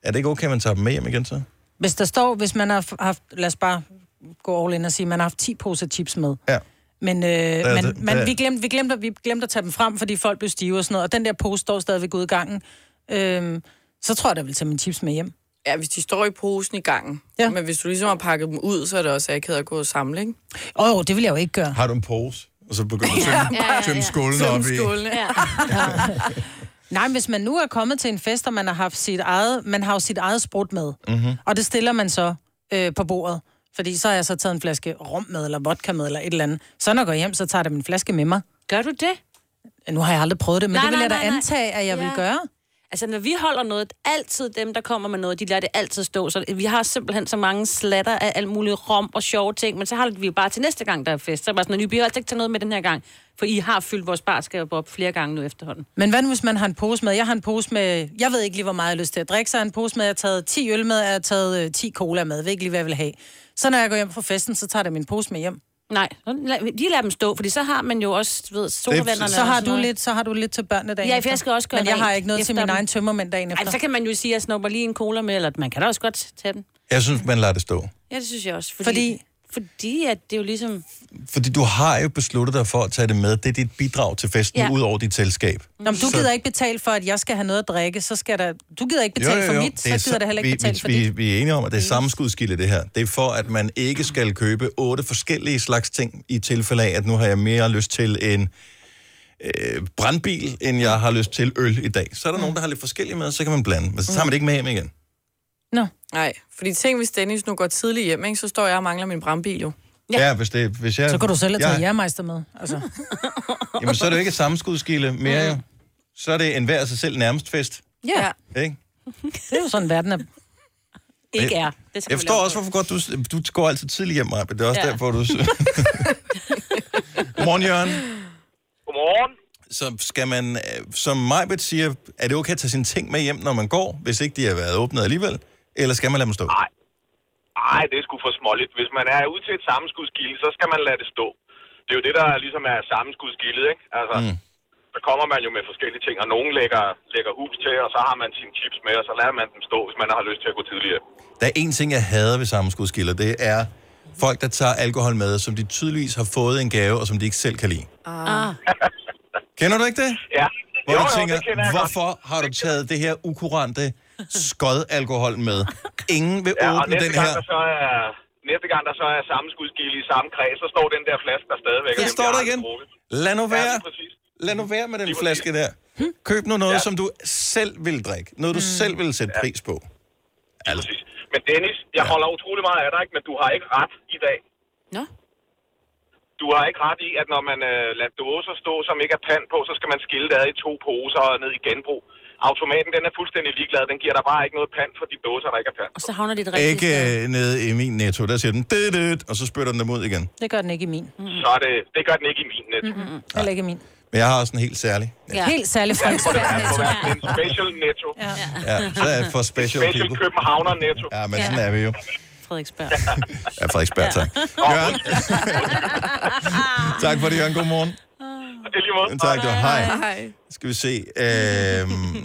A: Er det ikke okay, at man tager dem med hjem igen så?
B: Hvis der står, hvis man har f- haft, lad os bare gå all in og sige, man har haft 10 poser chips med.
A: Ja.
B: Men, øh,
A: er
B: men,
A: det- der-
B: men vi, glemte, vi, glemte, vi glemte at tage dem frem, fordi folk blev stive og sådan noget. Og den der pose står stadigvæk ude i gangen. Øhm, så tror jeg, der vil tage mine chips med hjem.
D: Ja, hvis de står i posen i gangen. Ja. Men hvis du ligesom har pakket dem ud, så er det også akavet at gå og samle, ikke?
B: Åh, oh, det vil jeg jo ikke gøre.
A: Har du en pose? Og så begynder du at tømme,
D: Ja,
A: ja, ja, ja. tømme skålen op i.
B: Ja. Nej, men hvis man nu er kommet til en fest, og man har haft sit eget, man har jo sit eget sprut med,
A: Mm-hmm.
B: og det stiller man så øh, på bordet, fordi så har jeg så taget en flaske rom med, eller vodka med, eller et eller andet. Så når jeg går hjem, så tager jeg da min flaske med mig.
C: Gør du det?
B: Nu har jeg aldrig prøvet det, men nej, det vil jeg da
C: nej, nej.
B: antage, at jeg ja. vil gøre.
C: Altså, når vi holder noget, altid dem, der kommer med noget, de lader det altid stå. Så vi har simpelthen så mange slatter af alt muligt rom og sjove ting, men så har vi jo bare til næste gang, der er fest. Så er det bare sådan, at vi har altså ikke tage noget med den her gang, for I har fyldt vores barskab op flere gange nu efterhånden.
B: Men hvad nu, hvis man har en pose med? Jeg har en pose med, jeg ved ikke lige, hvor meget jeg har lyst til at drikke, så jeg har en pose med, jeg har taget 10 øl med, jeg har taget øh, 10 cola med, jeg ved ikke lige, hvad jeg vil have. Så når jeg går hjem fra festen, så tager jeg min pose med hjem.
C: Nej, de lader dem stå, fordi så har man jo også, du ved, solvanderne.
B: så har du lidt, så har du lidt til børnene dagen
C: Ja, for
B: efter.
C: jeg skal også gøre
B: Men jeg
C: rent
B: har ikke noget til
C: efter
B: min
C: dem.
B: egen tømmermænd dagen efter.
C: Ej, så kan man jo sige, at jeg snupper lige en cola med, eller man kan da også godt tage den.
A: Jeg synes, man lader det stå.
C: Ja, det synes jeg også. Fordi,
B: Fordi-
C: fordi, fordi at det er jo ligesom...
A: Fordi du har jo besluttet dig for at tage det med. Det er dit bidrag til festen, ja.
B: Ja.
A: ud over dit selskab.
B: Nå, men du gider ikke betale for, at jeg skal have noget at drikke, så skal der... Du gider ikke betale for mit, så
A: er
B: gider der heller ikke
A: vi,
B: betale
A: vi,
B: for
A: vi,
B: dit.
A: Vi er enige om, at det er sammenskudskilde, det her. Det er for, at man ikke skal købe otte forskellige slags ting i tilfælde af, at nu har jeg mere lyst til en øh, brandbil, end jeg har lyst til øl i dag. Så er der nogen, der har lidt forskellige med, så kan man blande. Men så tager man det ikke med hjem igen.
B: Nå.
D: Nej, fordi tænk, hvis Dennis nu går tidligt hjem, ikke, så står jeg og mangler min brandbil jo.
A: Ja, ja hvis, det, hvis jeg...
B: Så kan du selv tage
A: jeg-
B: jærmeister med. Altså.
A: Jamen, så er det jo ikke sammenskudskilde mere,
B: Mm-hmm.
A: jo. Så er det en hver sig selv nærmest fest,
B: Ja,
A: ikke?
B: det er jo sådan, verden er.
A: Ikke er.
C: Det
A: Jeg forstår også, hvorfor godt du, du går altid tidligt hjem, Maja, men det er også ja.
H: Ja.
A: derfor, du... Godmorgen, Jørgen.
H: Godmorgen.
A: så skal man, øh, som Majbet siger, er det okay at tage sine ting med hjem, når man går, hvis ikke de har været åbnet alligevel? Eller skal man lade dem stå? Nej.
H: Nej, det er sgu for småligt. Hvis man er ude til et sammenskudsgilde, så skal man lade det stå. Det er jo det, der ligesom er sammenskudsgildet, ikke? Altså, mm. så kommer man jo med forskellige ting, og nogen lægger, lægger hus til, og så har man sine chips med, og så lader man dem stå, hvis man har lyst til at gå tidligere.
A: Der er en ting, jeg hader ved sammenskudskilder, det er folk, der tager alkohol med, som de tydeligvis har fået en gave, og som de ikke selv kan lide.
P: Ah.
A: Kender du ikke det?
H: Ja.
A: Hvor
P: Jo,
A: du
P: jo,
A: tænker,
P: det kender jeg
A: hvorfor har du taget det her ukurante skod alkohol med? Ingen vil
H: Ja, og
A: åbne
H: næste
A: den
H: gang,
A: her.
H: der så er, næste gang, der så er sammenskudsgilde i samme kreds, så står den der flaske der stadigvæk.
A: Den
H: og
A: står
H: jeg
A: der
H: har
A: igen.
H: aldrig drukket.
A: Lad nu
H: Ja,
A: være.
H: lige præcis.
A: Lad nu være med den flaske der. Køb nu noget, som du selv vil drikke. Noget, du selv vil sætte pris på. Altså,
H: Men Dennis, jeg holder utrolig meget af dig, ikke? men du har ikke ret i dag.
C: Nå.
H: Du har ikke ret i, at når man øh, lader dåser stå, som ikke er pand på, så skal man skille det ad i to poser og ned i genbrug. Automaten, den er fuldstændig ligeglad. Den giver dig bare ikke noget pand for de dåser, der ikke er pand.
C: Og så havner det rigtigt.
A: ikke øh, nede i min netto. Der siger den, det, det, og så spytter den dem ud igen.
B: Det gør den ikke i min. Mm.
H: Så er det, det gør den ikke i min net.
B: Mm-mm. Heller ikke i min.
A: Men jeg har også en helt særlig.
B: Ja. Helt særlig
H: Ja, det må
B: Frederiksberg
H: være- det
B: Netto.
H: må være en special netto. Ja.
A: Ja, så er jeg for special
H: Special
A: people.
H: københavner netto.
A: Ja, men sådan er vi jo.
C: Frederiksberg.
A: Ja, Frederiksberg, tak. Jørgen. tak for det, Jørgen. Godmorgen.
H: Det er lige måde.
A: Tak, du. Hej. Skal vi se. Øhm,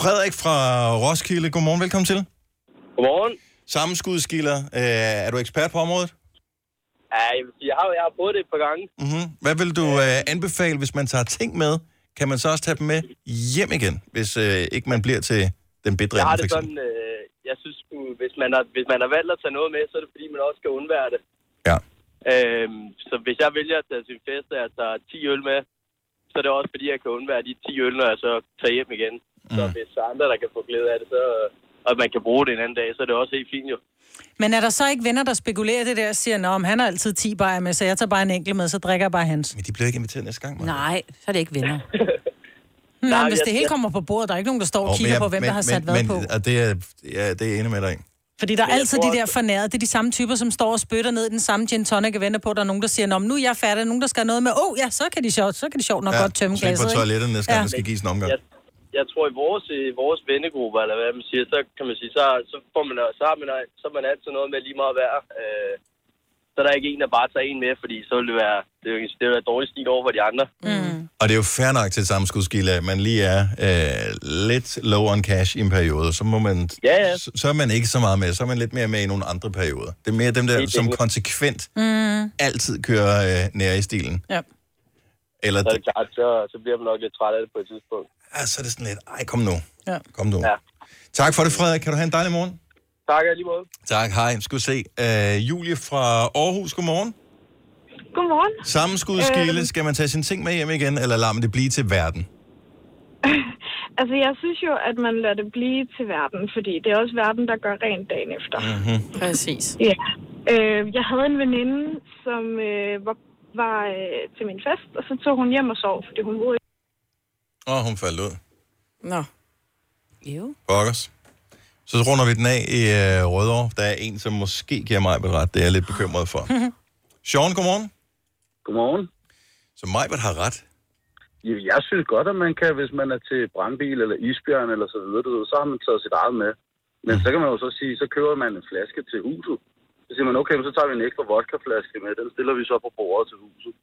A: Frederik fra Roskilde. Godmorgen, velkommen til.
I: Godmorgen.
A: Sammenskudskilder. Øh, er du ekspert på området?
I: Ja, jeg vil sige, jeg har, jeg har prøvet det et par gange.
A: Mm-hmm. Hvad vil du øh, anbefale, hvis man tager ting med? Kan man så også tage dem med hjem igen, hvis øh, ikke man bliver til den bedre
I: Jeg har
A: ende, for
I: det
A: eksempel?
I: sådan, øh, jeg synes, uh, hvis man, har, hvis man har valgt at tage noget med, så er det fordi, man også skal undvære det. Ja. Øhm, så hvis jeg vælger at tage til en fest, og jeg tager 10 øl med, så er det også fordi, jeg kan undvære de 10 øl, når jeg så tager hjem igen. Så
A: Mm.
I: hvis der er andre, der kan få glæde af det, så, og man kan bruge det en anden dag, så er det også helt fint jo.
B: Men er der så ikke venner, der spekulerer i det der og siger, Nå, om han har altid 10 bajer med, så jeg tager bare en enkelt med, så drikker jeg bare hans.
A: Men de bliver ikke inviteret næste gang,
B: Nej, så er det ikke venner. Men
I: Nej,
B: hvis
I: jeg-
B: det hele kommer på bordet, der er ikke nogen, der står og
A: Åh, men
B: kigger
A: jeg-
B: på, hvem der har sat
A: men,
B: hvad
A: men,
B: på.
A: Og det er, ja, det er jeg enig med dig i.
B: Fordi der er
I: Men jeg
B: altid
I: tror
B: de der
I: også-
B: fornærede, det er de samme typer, som står og spytter ned i den samme gin tonic og venter på, at der er nogen, der siger, Nå, men nu er jeg færdig, Der er nogen, der skal have noget med, åh, oh, ja, så kan de sjovt, så kan de sjovt nok godt tømme
A: slik
B: glasset.
A: på
B: ikke?
A: toilettet næste gang,
B: Ja.
A: ja. der skal gives en omgang.
I: Jeg, jeg tror, i vores, i vores vennegruppe, eller hvad man siger, så kan man sige, så, så, får man, så, har man, så er man altid noget med lige meget værd. Øh, så er der ikke en, der bare tager en med, fordi så vil det være, det vil, det vil være dårlig stil over for de andre.
A: Og det er jo fair nok til et sammenskudskilde, at man lige er øh, lidt low on cash i en periode. Så, må man,
I: ja, ja.
A: Så, så er man ikke så meget med. Så er man lidt mere med i nogle andre perioder. Det er mere dem der,
I: Helt
A: som
I: enig.
A: konsekvent
I: Mm.
A: altid kører øh, nær i stilen.
B: Ja.
A: Eller
I: Så er det klart, så, så bliver man nok lidt træt af det på et tidspunkt.
A: Ja, så er det sådan lidt, ej, kom nu.
B: Ja.
A: Kom nu. Ja. Tak for det, Frederik. Kan du have en dejlig morgen?
I: Tak og i lige måde.
A: Tak, hej. Skal vi se. Øh, Julie fra Aarhus, godmorgen.
M: Godmorgen.
A: Sammenskudskilde,
M: Øhm.
A: skal man tage sine ting med hjem igen, eller lader man det blive til verden?
M: Altså, jeg synes jo, at man lader det blive til verden, fordi det er også verden, der gør rent dagen efter.
A: Mm-hmm.
M: Præcis. Ja. Øh, jeg havde en veninde, som øh, var, var øh, til min fest, og så tog hun hjem og sov, fordi hun boede
A: Åh, hun faldt ud.
D: Nå.
C: Jo.
A: Pokkers. Så runder vi den af i øh, Rødovre. Der er en, som måske giver mig ret. Det er jeg lidt bekymret for. Sean, godmorgen.
J: Godmorgen.
A: Så Majbert har ret.
J: Ja, Jeg synes godt, at man kan, hvis man er til brandbil eller isbjørn eller så videre, du ved, så har man taget sit eget med. Men så kan man jo så sige, så køber man en flaske til huset. Så siger man, okay, men så tager vi en ekstra vodkaflaske med, den stiller vi så på bordet til huset.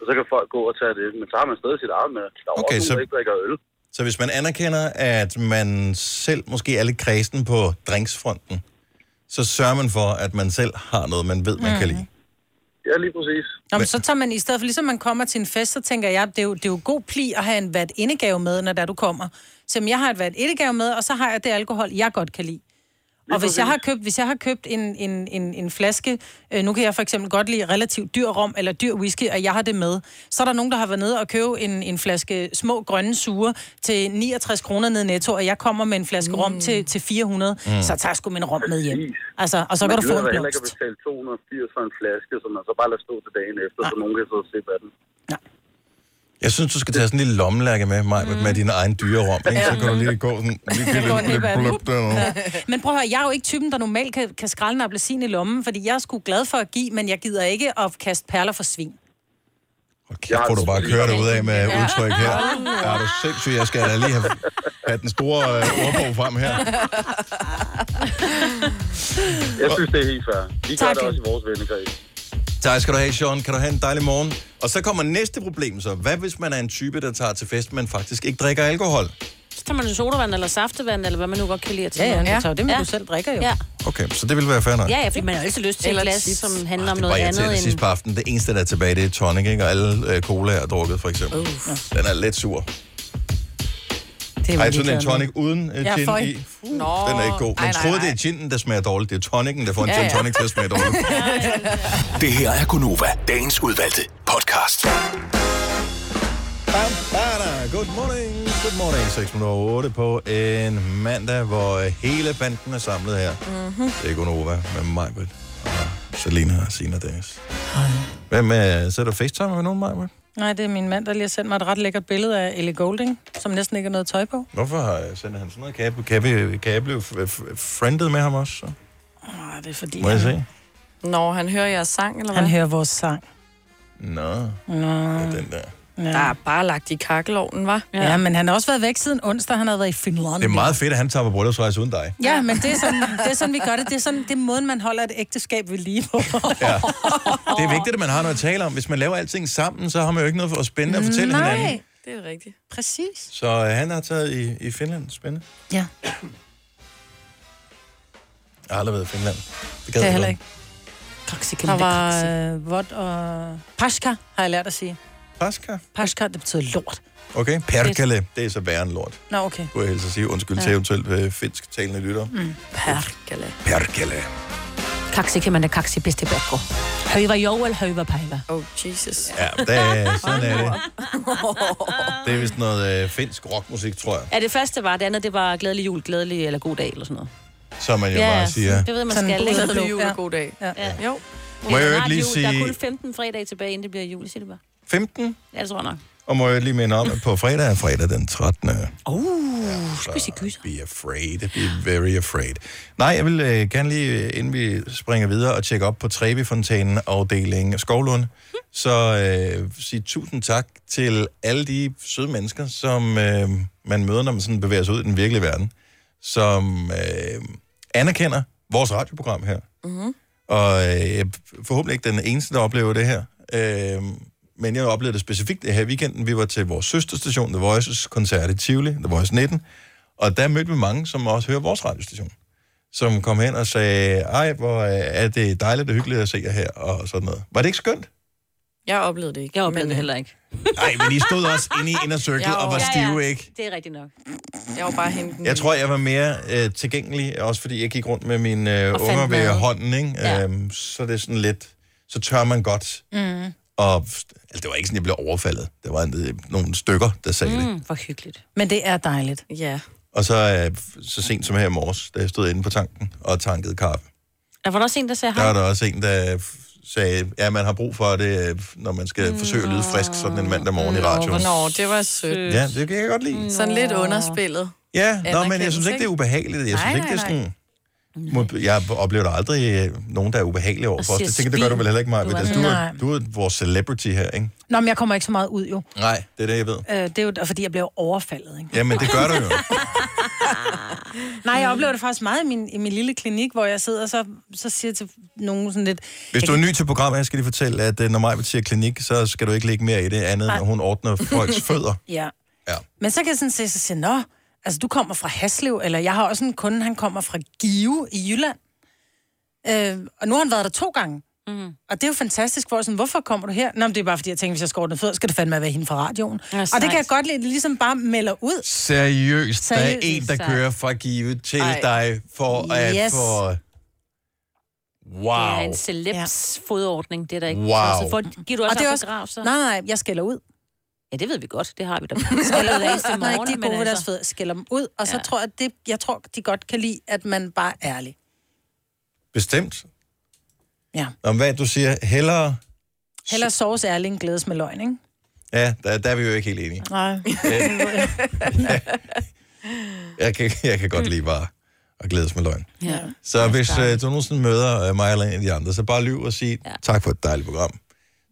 J: Og så kan folk gå og tage det, men så har man stadig sit eget med. Der er okay,
A: Okay,
J: også nogen,
A: så-
J: der ikke drikker øl.
A: Så hvis man anerkender, at man selv måske er lidt kredsen på drinksfronten, så sørger man for, at man selv har noget, man ved, man mm. kan
B: Mhm.
A: lide.
J: Ja, lige præcis.
B: Nå, men så tager man, i stedet for ligesom man kommer til en fest, så tænker jeg, det er jo, det er jo god pli at have en vat indegave med, når der du kommer. Så jamen, jeg har et vat indegave med, og så har jeg det alkohol, jeg godt kan lide.
J: Lige
B: Og hvis jeg,
J: præcis.
B: har købt, hvis jeg har købt en, en, en, en flaske, øh, nu kan jeg for eksempel godt lide relativt dyr rom eller dyr whisky, og jeg har det med, så er der nogen, der har været nede og købe en, en flaske små grønne sure til 69 kroner ned i netto, og jeg kommer med en flaske mm. rom til, til 400, mm.
J: Mm.
B: så tager jeg sgu min rom med hjem. Altså, og så kan
J: man
B: du få
J: gider
B: en
J: da heller ikke
B: blomst.
J: at betale 280 for en flaske, som man så bare lader stå til dagen efter, så nogen kan så se af den.
A: Jeg synes, du skal tage sådan en lille lommelærke med mig, mm. med din egen dyrerom. Ikke? Så
B: Mhm. Ja.
A: kan du lige gå sådan... Lige
B: Jeg
A: lidt,
B: går en hel
A: lidt,
B: verden.
A: blødt derovre.
B: Men prøv at høre, jeg er jo ikke typen, der normalt kan, kan skrælle en appelsin i lommen, fordi jeg er sgu glad for at give, men jeg gider ikke at kaste perler for svin.
A: Kæft, hvor du bare kører dig ud af med
P: Ja.
A: udtryk her. Ja, er du sindssyg? Jeg skal da lige have, have den store øh, ordbog frem her.
J: Jeg synes, det er helt fair. Vi gør
A: Tak.
J: det også i vores vennekreds.
A: Tak skal du have, Sean. Kan du have en dejlig morgen? Og så kommer næste problem så. Hvad hvis man er en type, der tager til fest, men faktisk ikke drikker alkohol?
C: Så tager man jo sodavand eller saftevand, eller hvad man nu godt kan lide at tage.
B: Ja, ja,
C: med.
B: du tager jo det, men du selv drikker jo.
C: Ja,
A: Okay, så det vil være fair nok.
C: ja, ja fordi man har altid lyst til
B: Eller
C: et glas,
B: chips.
C: som handler om
A: Bare
C: noget
A: jeg til
C: andet
A: sidst
C: end...
A: på aftenen. Det eneste, der er tilbage, det er tonic, ikke? Og alle øh, cola er drukket, for eksempel. Uff. Den er lidt sur.
B: Det
A: Ej, sådan en tonic uden øh, gin i.
D: Nå,
A: Den er ikke god. Man
D: ej, nej,
A: troede,
D: nej.
A: det er ginen, der smager dårligt. Det er tonikken, der får en
D: Ja,
A: gin
D: ja.
A: tonic til at smage dårligt.
U: Det her er Gunova, dagens udvalgte podcast.
A: Bam, bada. Good morning, good morning. 608 på en mandag, hvor øh, hele banden er samlet her.
P: Mhm.
A: Det er Gunova med mig, Britt, og Selina og Sina og Dennis. øh, Hvad med, så er du facetime med nogen, Maja?
B: Nej, det er min mand, der lige har sendt mig et ret lækkert billede af Ellie Golding, som næsten ikke har noget tøj på.
A: Hvorfor har jeg sendt han sådan noget? Kan jeg, kan jeg, kan jeg blive f- f- friendet med ham også? så?
B: Nej, det er fordi...
A: Må jeg se?
D: Når han hører jeres sang, eller hvad?
B: Han hører vores sang.
A: Nå.
B: Nå. Ja,
A: den der.
D: Ja. Der er bare lagt i kakkelovnen, var.
B: Ja. ja, men han har også været væk siden onsdag. Han har været i Finland.
A: Det er meget fedt, at han tager på bryllupsrejse uden dig.
B: Ja, men det er, sådan, det er sådan, vi gør det. Det er sådan, det er måden, man holder et ægteskab ved lige på.
A: Ja. Det er vigtigt, at man har noget at tale om. Hvis man laver alting sammen, så har man jo ikke noget for at spændende at fortælle
B: Nej.
A: hinanden.
D: Det er rigtigt.
B: Præcis.
A: Så øh, han har taget i, i Finland. Spændende.
B: Ja.
A: Jeg har aldrig været i Finland. Det
B: Det er
A: jeg
B: heller
A: godt.
B: ikke. Koksik,
A: Der
B: der
A: var,
B: var øh, vod og... Paska, har jeg lært at sige.
A: Paska?
B: Paska, det betyder lort.
A: Okay, perkele, det er så værre end lort.
B: Nå, okay.
A: Kunne jeg helst at sige. Undskyld til
B: Ja.
A: eventuelt øh, finsk talende lytter.
C: Mm. Perkele.
A: Perkele.
C: Kaksi kan man da kaksi bedste bækko. Højver jo, eller højver pejver.
D: Oh, Jesus.
A: Ja, det, er- sådan er det. Det er vist noget øh, finsk rockmusik, tror jeg.
C: Ja, det første var, det andet, det var glædelig jul, glædelig eller god dag, eller sådan noget.
A: Som man jo bare siger.
C: Det ved man
D: Sådan
C: skal.
D: god
C: Længere
D: glædelig jul og
C: Ja.
D: god dag.
B: Ja.
C: ja. Jo.
A: Må jeg
C: Ja,
A: jo
C: snart
A: ikke lige
C: jul. Der er kun
A: sige-
C: 15 fredage tilbage, inden det bliver jul, siger det bare.
A: 15?
C: Ja, det tror jeg nok.
A: Og må jeg lige minde om, at på fredag er fredag den 13.
C: Uh, skal vi sige
A: gyser? Be afraid, be very afraid. Nej, jeg vil øh, gerne lige, øh, inden vi springer videre og tjekker op på Trevi-fontænen afdeling Skovlund, så øh, sige tusind tak til alle de søde mennesker, som øh, man møder, når man sådan bevæger sig ud i den virkelige verden, som øh, anerkender vores radioprogram her.
P: Mhm.
A: Og øh, jeg er forhåbentlig ikke den eneste, der oplever det her. Øh, men jeg oplevede det specifikt det her i weekenden. Vi var til vores søsterstation, The Voices koncert i Tivoli, The Voice 19. Og der mødte vi mange, som også hører vores radiostation. Som kom hen og sagde, ej, hvor øh, er det dejligt og hyggeligt at se jer her, og sådan noget. Var det ikke skønt?
D: Jeg oplevede det ikke. øh,
C: Jeg oplevede det heller ikke.
A: Nej, men I stod også inde i inner circle
D: Ja,
A: og var stive, ikke?
C: Det er rigtigt nok.
D: Jeg var bare hente den.
A: Jeg tror, jeg var mere øh, tilgængelig, også fordi jeg gik rundt med mine øh,
D: Og fandt
A: unger ved
D: mad.
A: hånden, ikke? Ja. Øhm, så det er sådan lidt, så tør man godt.
B: Mm.
A: Og altså, det var ikke sådan, jeg blev overfaldet. Der var en, øh, nogle stykker, der sagde mm. det.
C: hvor hyggeligt.
B: Men det er dejligt.
D: Ja.
A: Og så, øh, så sent som her i morges, da jeg stod inde på tanken og tankede kaffe,
C: Der var der også en, der sagde
A: der var
C: hej.
A: der også en, der øh, sagde, ja, man har brug for det, øh, når man skal forsøge at lyde frisk sådan en mandag morgen i radioen.
D: Nå, det var sødt.
A: Ja, det kan jeg godt lide.
D: Sådan lidt underspillet.
A: Ja, nå, men jeg
D: Anerkendelse,
A: synes ikke, det er ubehageligt. Jeg synes
D: Nej,
A: ikke, det er
D: nej,
A: sådan... Må- Jeg oplever der aldrig øh, nogen, der er ubehagelige over for os.
B: siger
A: Det tænker, det gør du vel heller ikke, Maja.
B: Du er-
A: Altså, du, er,
B: Nej.
A: du er vores celebrity her, ikke?
B: Nå, men jeg kommer ikke så meget ud, jo.
A: Nej, det er det, jeg ved.
B: Øh, det er jo fordi, jeg blev overfaldet, ikke?
A: Jamen, det gør du jo.
B: Nej,
C: Mm.
B: jeg oplever det faktisk meget i min, i min lille klinik, hvor jeg sidder, og så, så siger jeg til nogen sådan lidt...
A: Hvis
B: jeg
A: du er
B: kan-
A: ny til programmet, jeg skal lige fortælle, at øh, når Maja siger klinik, så skal du ikke lægge mere i det andet,
B: Nej.
A: når hun ordner folks fødder.
B: Ja.
A: Ja.
B: Men så kan jeg sådan se, så siger jeg, nå, altså du kommer fra Haslev, eller jeg har også en kunde, han kommer fra Give i Jylland. Øh, og nu har han været der to gange.
C: Mm.
B: Og det er jo fantastisk, hvor jeg sådan, hvorfor kommer du her? Nå, men det er bare fordi, jeg tænker, hvis jeg skal ordne fødder, skal det fandme være hende fra radioen. Ja, og det
C: sejt.
B: kan jeg godt lide, at det ligesom bare melder ud.
A: Seriøst, der er
B: Seriøst,
A: en, der
B: sejt.
A: kører fra Give til
B: Ej.
A: dig for at
C: Yes.
A: få...
C: Det er
A: Wow.
C: en celebs ja. fodordning, det er der ikke.
A: Wow.
C: Så for, giver du også
B: Og det er også-
C: autograf, så?
B: Nej, nej, jeg skælder ud.
C: Ja, det ved vi godt. Det har vi da.
B: skælder ud af
C: eneste
B: når ikke
C: morgen,
B: de er
C: men
B: gode ved deres
C: altså-
B: fødder, skælder dem ud. Og så
C: Ja.
B: tror jeg, at det, jeg tror, de godt kan lide, at man bare er ærlig.
A: Bestemt.
B: Ja.
A: Om hvad du siger, hellere...
B: Hellere soves ærlig end glædes med løgn, ikke?
A: Ja, der, der er vi jo ikke helt enige.
B: Nej.
A: Jeg kan, jeg kan godt lide bare at glædes med løgn.
B: ja.
A: Så hvis øh, du nogensinde møder øh, mig eller en af de andre, så bare lyv og sig ja. tak for et dejligt program.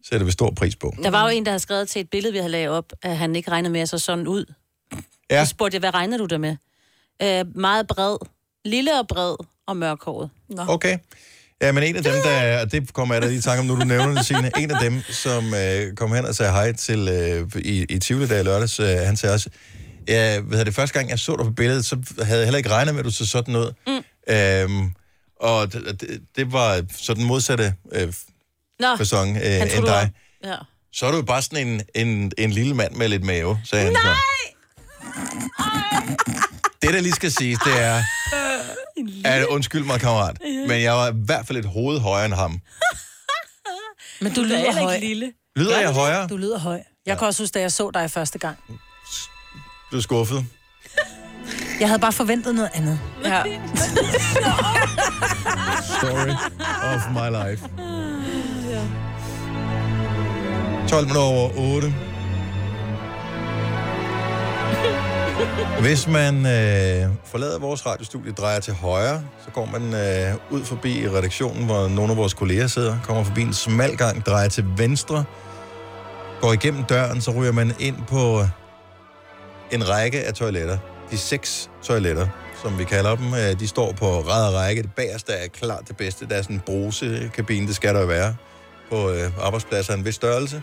A: sætter vi stor pris på.
C: Der var jo en, der havde skrevet til et billede, vi havde lavet op, at han ikke regnede med at se sådan ud.
A: Ja.
C: Så spurgte jeg, hvad regner du der med? Øh, meget bred. Lille og bred og mørkhåret. Nå.
A: Okay. Ja, men en af dem, der er, og det kommer jeg da lige i tanke om, nu du nævner det, Signe, en af dem, som øh, kom hen og sagde hej til øh, i, i Tivoli der i lørdags, øh, han sagde også, ja, hvad hedder det, første gang jeg så dig på billedet, så havde jeg heller ikke regnet med, at du så sådan ud. Mm. Øhm, og det, det- det var så den modsatte øh,
C: Nå.
A: Facon, øh,
C: Ah, Han troede,
A: end
C: du var-
A: dig.
C: Ja.
A: så er du jo bare sådan en, en, en lille mand med lidt mave, sagde han så. Det, der lige skal siges, det er, at undskyld mig, kammerat, men jeg var i hvert fald et hoved højere end ham.
B: Men du
C: er
B: lyder
C: heller ikke
B: høj.
C: lille.
A: Lyder jeg højere?
B: Du lyder høj. Jeg kan også huske, da jeg så dig første gang.
A: Du er skuffet.
B: Jeg havde bare forventet noget andet.
D: Ja.
A: Story of my life. 12 minutter over 8. Hvis man øh, forlader vores radiostudie, drejer til højre, så går man øh, ud forbi redaktionen, hvor nogle af vores kolleger sidder, kommer forbi en smal gang, drejer til venstre, går igennem døren, så ryger man ind på en række af toiletter. De seks toiletter, som vi kalder dem, øh, de står på ræd og række. Det bagerste er klart det bedste. Der er sådan en brusekabine, det skal der jo være, på øh, arbejdspladser af en vis størrelse.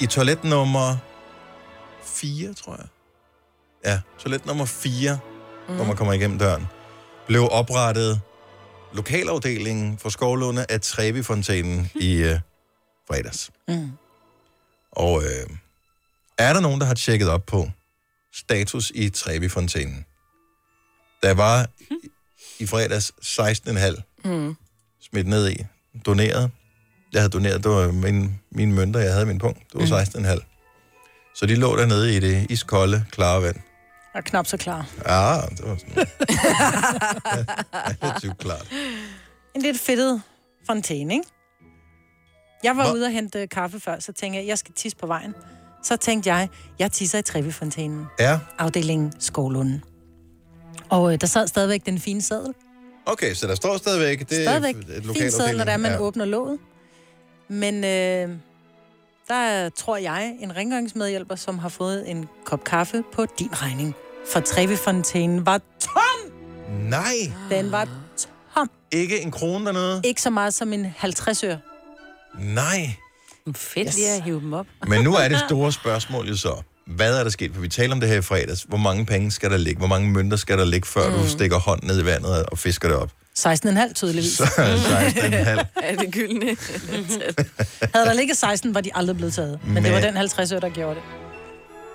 A: I toilet nummer 4, tror jeg. Ja, toilet nummer 4, mm. når man kommer igennem døren, blev oprettet lokalafdelingen for Skovlunde af Trevi-fontænen i øh, fredags.
B: Mm.
A: Og øh, er der nogen, der har tjekket op på status i Trevi-fontænen? Der var i- i fredags 16,5
D: Mm.
A: smidt ned i, doneret. Jeg havde doneret, det var min, mine mønter, jeg havde i min punkt.
B: Mm.
A: Det var 16,5. Så de lå dernede i det iskolde, klare vand.
B: Jeg er knap så klar.
A: Ja, det var sådan relativt klart.
B: en lidt fedtet fontæne, ikke? Jeg var
A: Hvor-
B: Hvor? ude og hente kaffe før, så tænkte jeg, jeg skal tisse på vejen. Så tænkte jeg, jeg tisser i Trevifontænen,
A: Ja,
B: afdelingen Skovlunden. Og øh, der sad stadigvæk den fine sædel.
A: okay, så der står stadigvæk, det er
B: stadigvæk
A: et
B: fin
A: lokalt
B: sædel, når
A: afdeling.
B: der man
A: ja.
B: åbner låget. Men øh, der er, tror jeg, en rengøringsmedhjælper, som har fået en kop kaffe på din regning. For Trevifontænen var tom!
A: Nej,
B: Den var tom.
A: ikke en krone dernede?
B: Ikke så meget som en 50 øre.
A: Nej.
C: Fedt yes. lige at hive dem op.
A: Men nu er det store spørgsmål jo så, hvad er der sket? For vi taler om det her i fredags. Hvor mange penge skal der ligge? Hvor mange mønter skal der ligge, før mm. du stikker hånden ned i vandet og fisker det op?
B: 16,5 tydeligvis.
A: Så er det 16,5.
D: Er det gyldne?
B: Havde der ligget 16, var de aldrig blevet taget. Men, Men det var
A: Men-
B: den 50 øre, der gjorde det.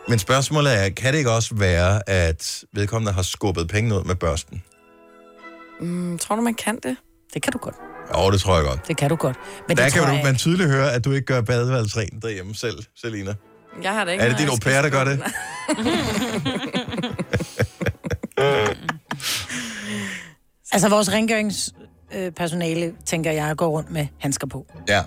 A: Men spørgsmålet er, kan det ikke også være, at vedkommende har skubbet penge ud med børsten?
D: Mm, tror du, man kan det?
B: Det kan du godt.
A: Jo, det tror jeg godt.
B: Det kan du godt. Men
A: der
B: det
A: kan
B: tror
A: du,
B: jeg
A: man tydeligt høre, at du ikke gør badeværelset rent derhjemme selv, Selina.
D: Jeg har da ikke
A: Er det din
D: noget,
A: au pair, der gør det?
B: Altså, vores rengøringspersonale, øh, tænker jeg, går rundt med handsker på.
A: Ja. Ja,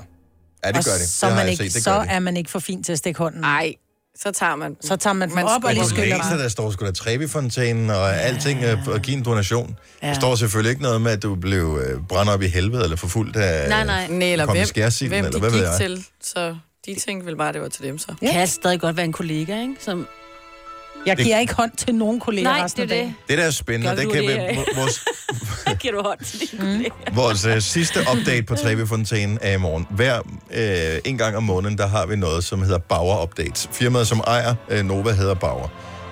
A: det gør
B: Og
A: det.
B: Så,
A: det
B: man
A: har jeg
B: ikke,
A: set. Det
B: så
A: gør det.
B: er man ikke for fin til at stikke hånden.
D: Nej, så tager man
B: Så tager man den
D: Man
B: op og
A: Men
B: lige
A: du
B: skyller
A: læser,
B: bare.
A: der står sgu da Trevi-fontænen og alting, øh, og give en donation. Ja.
B: Ja.
A: Der står selvfølgelig ikke noget med, at du blev øh, brændt op i helvede, eller forfulgt af...
D: Nej, nej. nej eller
A: kom i
D: hvem,
A: skærsilden,
D: hvem
A: eller
D: de
A: hvad ved
D: gik
A: jeg?
D: til, så de tænkte vel bare, at det var til dem så.
C: Ja. Kan stadig godt være en kollega, ikke? Som...
B: Jeg
A: Det-
B: giver ikke hånd til nogen kolleger
C: Nej,
B: resten
C: det er
B: af
C: det.
A: Det der er spændende,
C: Gør
A: det
C: du
A: kan
C: det, Mm.
A: være
C: ja?
A: vo- vores,
C: Giver du hånd til dine kolleger?
A: vores øh, sidste update på Trevi-fontænen er i morgen. Hver øh, en gang om måneden, der har vi noget, som hedder Bauer Updates. Firmaet, som ejer øh, Nova, hedder Bauer.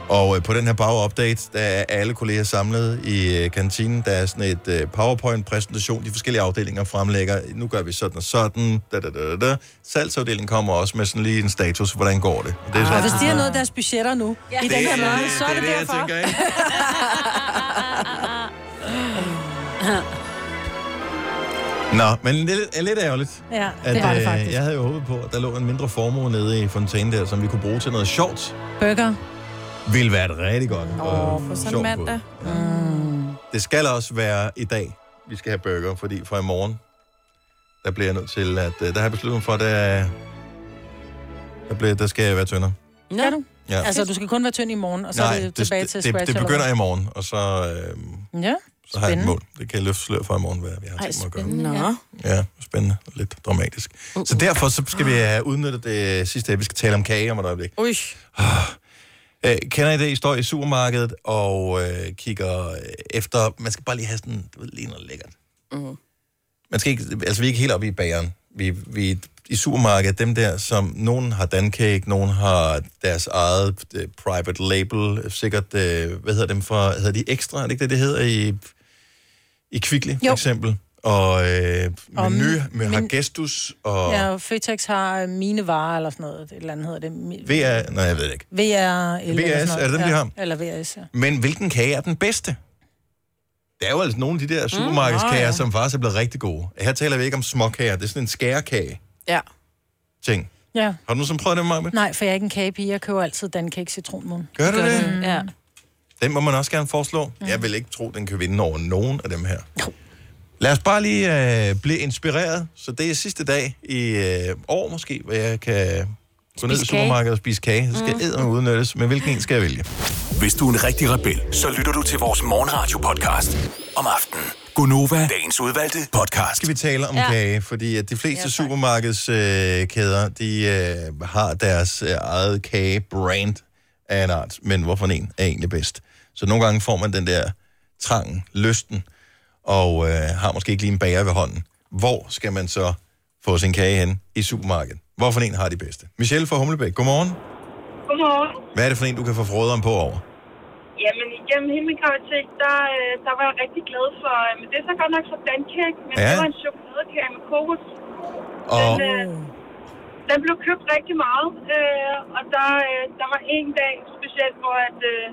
A: Og øh, på den her Bauer Update, der er alle kolleger samlet i øh, kantinen. Der er sådan et øh, PowerPoint-præsentation, de forskellige afdelinger fremlægger. Nu gør vi sådan og sådan. Da, da, da, da, da. Salgsafdelingen kommer også med sådan lige en status, hvordan går det. det er
B: Og
A: sådan,
B: Ah, hvis de har noget af deres budgetter nu, ja. i den her måned, så er det,
A: jeg
B: derfor.
A: tænker, ikke? Nå, men det er lidt- er lidt ærgerligt.
B: Ja,
A: At,
B: det var det
A: øh,
B: faktisk.
A: Jeg havde jo håbet på, at der lå en mindre formue nede i fontænen der, som vi kunne bruge til noget sjovt.
B: Burger.
A: Ville være et rigtig godt og
D: Åh, på sådan en
A: sjovt
D: mandag.
C: Mm.
A: bud. Det skal også være i dag, vi skal have burger, fordi fra i morgen, der bliver jeg nødt til, at øh, der har jeg besluttet mig for, at der, der, bliver, der skal jeg være tyndere.
B: Nå. du?
A: Ja.
B: Altså, du skal kun være tynd i morgen, og så Nej, er det tilbage
A: det,
B: til
A: det,
B: scratch.
A: det begynder i
B: eller
A: morgen, og så, øh,
B: hvad? Ja,
A: så, Så har jeg et mål. Det kan jeg løfte slør for i morgen, hvad vi har
B: Ej,
A: tænkt mig at gøre.
B: spændende. Nå.
A: Ja, spændende. Lidt dramatisk.
B: Uh,
A: Så derfor så skal vi have udnyttet det sidste. Vi skal tale om kage om et øjeblik.
D: Ui.
A: Øh, kender I det? I står i supermarkedet og øh, kigger efter... Man skal bare lige have sådan du ved, lige noget lækkert.
B: Mm-hmm.
D: Mm.
A: Man skal ikke, altså, vi er ikke helt oppe i bageren. Vi, vi er i supermarkedet, dem der, som nogen har Dancake, nogen har deres eget øh, private label, øh, sikkert, øh, hvad hedder dem for, hedder de Ekstra, er det ikke det, det hedder i, i Kvickly, for
B: Jo.
A: eksempel? Og øh,
B: Og
A: Meny,
B: men-
A: med har Gestus, og
B: Ja,
A: ja.
B: og Føtex har øh, mine varer eller sådan noget. Et eller andet hedder det. Mi-
A: VR, nej, jeg ved det ikke.
B: VR. eller sådan
A: VRS,
B: noget.
A: er det dem, de
B: ja.
A: har?
B: Eller VRS, ja.
A: Men hvilken kage er den bedste? Der er jo altså nogle af de der supermarkedskager,
B: nå,
A: mm,
B: ja.
A: ja. som faktisk er blevet rigtig gode. Her taler vi ikke om småkager, det er sådan en skærekage-ting.
D: Ja.
B: ja.
A: Har du nogensinde prøvet det, Maja?
B: Nej, for jeg er ikke en kagepige. Jeg køber altid Dancake citronmund.
A: Gør du det?
B: Mm. Ja.
A: Den må man også gerne foreslå. Mm. Jeg vil ikke tro, den kan vinde over nogen af dem her. Lad os bare lige øh, blive inspireret. Så det er sidste dag i øh, år måske, hvor jeg kan gå ned i
U: kage.
A: supermarkedet og spise kage. Så skal
U: Mm.
A: mm. udnyttes, men hvilken en skal jeg vælge?
U: Hvis du er en rigtig rebel, så lytter du til vores morgenradio-podcast om aftenen. Gunova, dagens udvalgte podcast.
A: Skal vi tale om
U: Ja.
A: ja. kage? Fordi at de fleste ja, supermarkedskæder, øh, kæder, de øh, har deres øh, eget kage-brand af en art. Men hvorfor en er egentlig bedst? Så nogle gange får man den der trangen, lysten, og øh, har måske ikke lige en bager ved hånden. Hvor skal man så få sin kage hen i supermarkedet? Hvorfor en har de bedste? Michelle fra Humlebæk, godmorgen.
N: Godmorgen.
A: Hvad er det for en, du kan få froderen på over?
N: Jamen, igennem hele min kartotek, der, øh, der var jeg rigtig glad for... øh, Men det er så godt nok for dankage, men
A: Ja.
N: det var en chokoladekage med kokos.
A: Og-
N: Den, øh, den blev købt rigtig meget, øh, og der, øh, der var en dag specielt, hvor at, øh,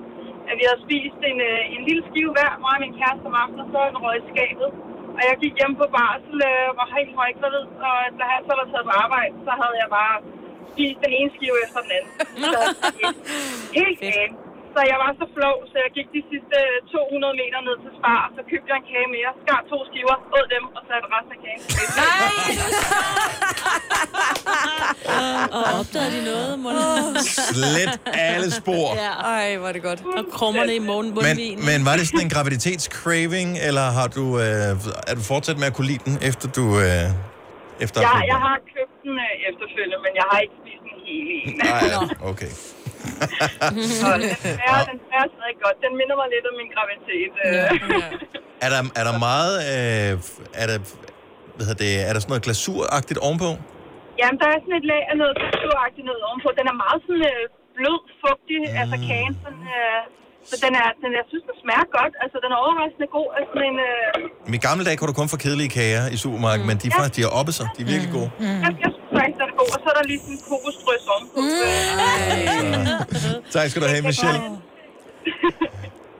N: at vi havde spist en, øh, en lille skive hver, mig og min kæreste om aftenen, og så en røg i skabet. Og jeg gik hjem på barsel øh, var helt højgravid, og da jeg så var taget på arbejde, så havde jeg bare spist den ene skive efter den anden. Så, helt galt. Så jeg var så flov, så jeg gik de sidste 200 meter ned til Spar, så købte jeg en kage mere, skar to skiver, åd dem og satte resten af kagen. Nej!
C: Og opdagede de noget, må
A: Slet alle spor.
C: Ja.
D: Ej, var det godt.
C: Og krummerne i morgen
A: Men, men var det sådan en graviditetscraving, eller har du, øh, er du fortsat med at kunne lide den, efter du... Øh, efter
N: Jeg, jeg har købt den øh, efterfølgende, men jeg har ikke spist den hele en.
A: Nej, Ah, okay.
N: Så den smager, den smager stadig godt. Den minder mig lidt om min graviditet. øh.
A: er, der, er der meget... Øh, er der, hvad hedder det, er der sådan noget glasuragtigt ovenpå?
N: Jamen, der er sådan et lag af noget kulturagtigt noget ovenpå. Den er meget sådan øh, blød, fugtig, mm. altså kagen. Sådan, øh, så den er, den, jeg synes, den smager godt. Altså, den er overraskende god. Altså, men, øh,
A: I gamle dage kunne du kun få kedelige kager i supermarkedet, mm. men de, er faktisk, de har oppet sig. De er virkelig gode.
N: jeg, jeg synes faktisk, den er god. Og så er der lige sådan en kokosdrys ovenpå. Øh.
A: Tak skal du have, Michelle.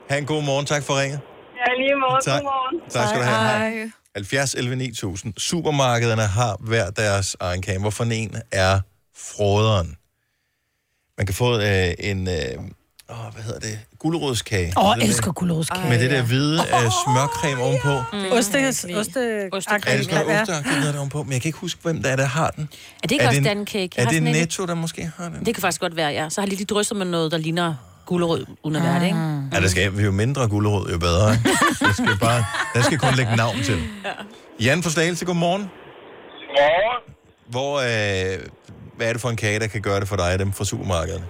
A: Ha' en god morgen. Tak for ringet.
N: Ja, lige måde.
A: Tak.
N: Godmorgen.
A: Tak skal du have. Hej.
N: Hej.
A: 70 11 9000. Supermarkederne har hver deres egen kage. Hvorfor en er froderen? Man kan få øh, en, øh, åh, hvad hedder det, gulerodskage.
B: Åh,
A: Den der-
B: elsker gulerodskage.
A: Med det der hvide øh, smørcreme ovenpå.
B: Mm. Oste, oste, oste,
A: Er det sådan noget osteagtigt noget der ovenpå? Men jeg kan ikke huske, hvem der er, der har den.
C: Er det ikke også Dancake? Jeg
A: Er
C: har
A: det
C: sådan en-
A: Netto, der måske har den?
C: Det kan faktisk godt være, ja. Så har de lige drysset med noget, der ligner gulerød uden
B: Ah.
C: at være det, ikke?
A: Ja, der skal jo mindre gulerod, jo bedre. ikke? Så Der skal, bare, der skal kun lægge navn til. Jan fra Slagelse, godmorgen.
L: Godmorgen.
A: Hvor, øh, hvad er det for en kage, der kan gøre det for dig, dem fra supermarkederne?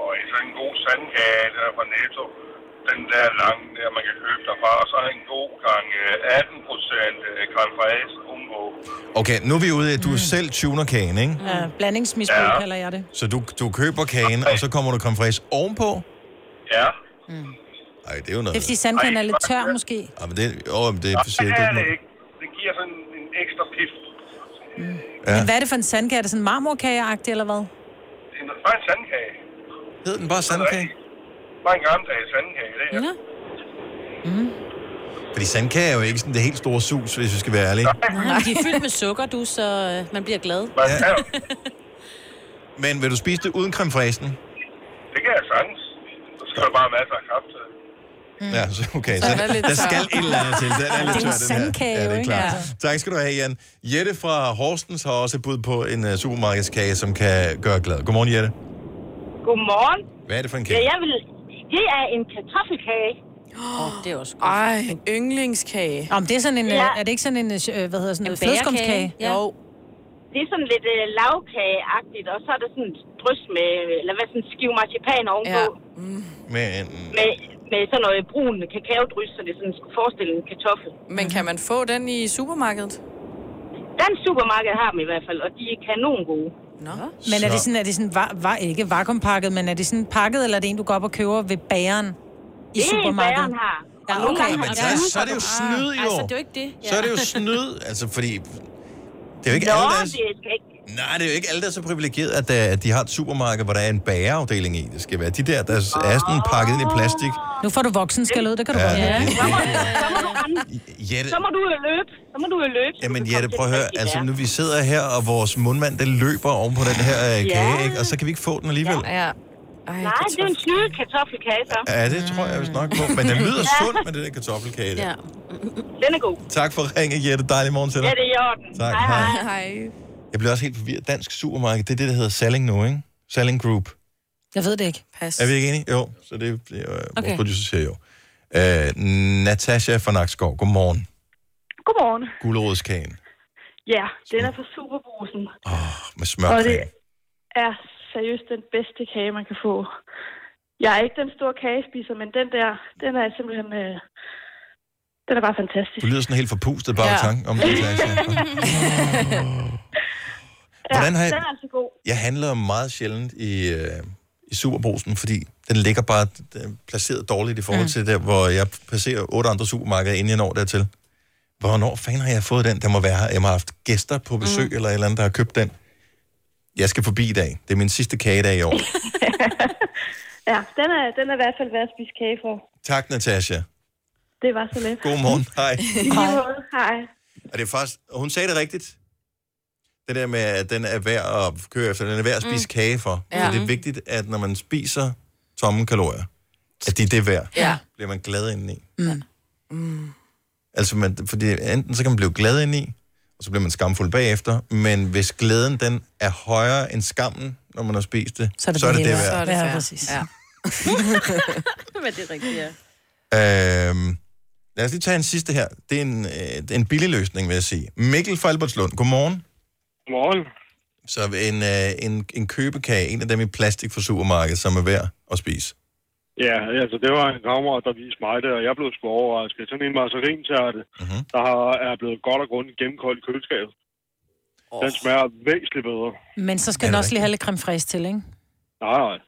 L: Og sådan en god sandkage, der er fra Netto. Den der lange der, man kan købe derfra. Og så er en god gang øh, 18 procent creme fraise ovenpå.
A: Okay, nu er vi ude i, at du mm. selv tuner kagen, ikke?
B: Ja, blandingsmisbrug
A: Ja.
B: ja. kalder jeg det.
A: Så du, du køber kagen, og så kommer du creme fraise ovenpå?
L: Ja.
B: Mm.
A: Nej, det er jo noget.
B: Det er fordi sandkagen er lidt tør, måske.
A: Ja, men det, jo, men det siger
L: det
A: ikke
L: er det
A: noget.
L: ikke. Det giver sådan en ekstra pif.
A: Ja.
B: Ja. Mm. Men hvad er det for en sandkage? Er det sådan marmorkageagtig, eller hvad?
L: Det er en- bare en sandkage.
A: Hed den bare sandkage?
L: Bare en gammeldags sandkage, det her.
A: Fordi sandkage er jo ikke sådan det helt store sus, hvis vi skal være ærlige.
C: Nej, men de er fyldt med sukker, du, så øh, man bliver glad.
A: Ja. Men vil du spise det uden creme fraisen?
L: Det kan jeg sagtens. Så skal der bare masser af kaffe til.
A: Ja, så, okay.
L: Mm. Så
A: Så,
L: den er lidt
A: der
L: tør.
A: skal et eller andet til. Den
L: Det er
A: er lidt
L: en
A: tør, den
L: sandkage,
A: her. Ja,
L: jo,
A: det er
L: ikke?
A: klart. Tak skal du have, Jan. Jette fra Horsens har også et bud på en uh, supermarkedskage, som kan gøre glad. Godmorgen, Jette.
V: Godmorgen.
A: Hvad er det for en
V: Ja,
A: kage?
V: jeg vil... Det er en kartoffelkage.
C: Oh, det er også
D: godt. Ej, en yndlingskage.
B: Om det er sådan en,
D: Ja.
B: ja. er det ikke sådan en, øh, hvad hedder sådan
D: En
B: en flødeskumskage?
D: bagerkage, ja. Jo.
F: Det er sådan lidt øh, lavkageagtigt, og så er der sådan et drys med, eller hvad sådan en skive marcipan ovenpå, ja.
A: Men
F: med, med sådan noget brun kakaodrys, så det sådan skulle forestille en kartoffel.
D: Men kan man få den i supermarkedet?
F: Den supermarked har dem i hvert fald, og de er kanon gode.
D: Nå.
B: Men er det
F: Så-
B: sådan, er det sådan var, var, ikke vakuumpakket, men er det sådan pakket, eller er det en, du går op og køber ved bageren i
F: Det er en,
B: supermarkedet?
F: bageren har.
B: Ja,
F: Og
B: okay.
F: nogle gange
A: Men
F: har
A: så,
F: de
A: så er det jo snyd, jo.
F: Altså, det er jo ikke det.
A: Så er det jo snyd, altså fordi... Det er jo ikke
F: Nå,
A: alle, der er,
F: det er sgu ikke.
A: nej, det er jo ikke alle, der er så privilegeret, at, øh, at de har et supermarked, hvor der er en bagerafdeling i. Det skal være de der, der er sådan pakket ind i plastik.
B: Nu får du voksen skal ud, det kan du
A: Ja.
B: ja. godt.
A: Ja.
F: Så må du- så må du rende.
A: Jette,
F: Så må du jo løbe. Så må du jo løbe. så
A: Jamen
F: du kan
A: Jette,
F: komme
A: prøv at
F: til
A: høre,
F: den rigtige
A: altså
F: verden.
A: nu vi sidder her, og vores mundmand, den løber oven på den her øh,
F: Ja.
A: kage, ikke? og så kan vi ikke få den alligevel.
F: Ja.
D: Ej,
F: Nej, det er jo en snyde kartoffelkage, så.
A: Ja, det tror jeg vist nok på, men den lyder
F: Ja.
A: sund med det der kartoffelkage. der.
F: Ja. Den er god.
A: Tak for at ringe, Jette. Dejlig morgen til dig.
F: Ja, det er i orden.
A: Tak,
F: hej.
A: hej. Jeg bliver også helt forvirret. Dansk supermarked, det er det, der hedder Salling nu, ikke? Salling Group.
B: Jeg ved det ikke. Pas.
A: Er vi ikke enige? Jo, så det bliver øh, okay.
B: Okay.
A: vores producer siger jo. Øh, Natasha fra Nakskov, godmorgen.
N: Godmorgen.
A: Gulerodskagen
N: Ja, den er fra Superbrusen.
A: med
N: Og
A: smørkring.
N: det er seriøst den bedste kage, man kan få. Jeg er ikke den store kagespiser, men den der, den er simpelthen... Øh, den er bare fantastisk.
A: Du lyder sådan helt forpustet bare ja. tanken om Natasha.
N: ja,
A: Hvordan har jeg-
N: Den er altså god.
A: Jeg handler meget sjældent i, øh, i Superbrugsen, fordi den ligger bare den er placeret dårligt i
N: Mm.
A: forhold til der, hvor jeg passerer otte andre supermarkeder, inden jeg når dertil. Hvornår fanden har jeg fået den? Den må være her. Jeg må have haft gæster på besøg mm. eller et eller andet, der har købt den. Jeg skal forbi i dag. Det er min sidste kagedag i år.
N: Ja, den er, den er i hvert fald værd at spise kage for.
A: tak, Natasha.
N: Det var så let.
A: Godmorgen. Hej.
N: I lige måde. Hej.
A: Og det er faktisk, hun sagde det rigtigt. Det der med, at den er værd at køre efter, den er værd at spise mm. kage for.
N: Ja.
A: Ja. Det er vigtigt, at når man spiser tomme kalorier, at det er det værd.
N: Ja.
A: Bliver man glad indeni.
B: Mm.
A: Altså, man, fordi enten så kan man blive glad indeni, og så bliver man skamfuld bagefter, men hvis glæden den er højere end skammen, når man har spist det, så er det så er det, det
B: hele. Så er
A: værd.
B: det Ja, fair. præcis.
D: Ja.
C: Men det er rigtigt, ja.
A: Øhm, lad os lige tage en sidste her. Det er en, øh, det er en billig løsning, vil jeg sige. Mikkel fra Albertslund, godmorgen.
O: Godmorgen.
A: Så en, øh, en, en købekage, en af dem i plastik fra supermarkedet, som er værd at spise.
O: Ja, altså det var en kammerat, der viste mig det, og jeg blev sgu overrasket. Sådan en marcerintærte, mm-hmm. der har, er blevet godt og grundigt gennemkoldt i køleskabet. Oh. Den smager væsentligt bedre.
B: Men så skal den også lige have lidt creme fraise til, ikke?
O: Nej, nej.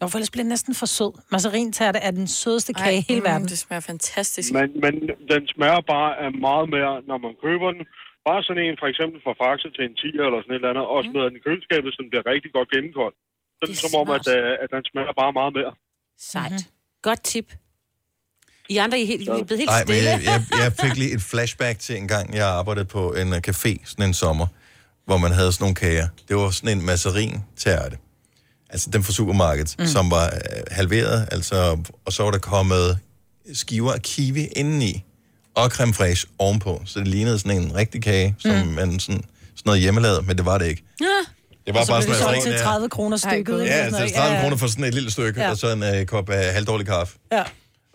B: Jo, for ellers bliver den næsten for sød. Marcerintærte er den sødeste kage i hele verden.
D: mm, det smager fantastisk.
O: Men, men den smager bare af meget mere, når man køber den. Bare sådan en, for eksempel fra Faxe til en 10 eller sådan et eller andet, og smider den i køleskabet, så den bliver rigtig godt gennemkoldt. Sådan som om, at, øh, at den smager bare meget mere.
C: Sejt. Mm-hmm. Godt tip. I andre I er, helt, I er blevet helt
A: Nej, men
C: stille.
A: jeg, jeg, jeg fik lige et flashback til en gang, jeg arbejdede på en øh, café sådan en sommer, hvor man havde sådan nogle kager. Det var sådan en masserin tærte. Altså den fra supermarkedet, mm. som var øh, halveret, altså, og så var der kommet skiver af kiwi indeni, og creme fraiche ovenpå. Så det lignede sådan en rigtig kage, som mm. man sådan, sådan noget hjemmelavet, men det var det ikke.
B: Ja.
A: Det var
B: Og så
A: bare
B: blev
A: sådan
B: solgt
A: en,
B: til
A: ja.
B: 30 kroner stykket. ikke?
A: Ja,
B: Sådan
A: altså
B: noget.
A: 30
B: Ja,
A: kroner for sådan et lille stykke,
B: Ja.
A: ja. og så en øh, kop af halvdårlig kaffe.
B: Ja.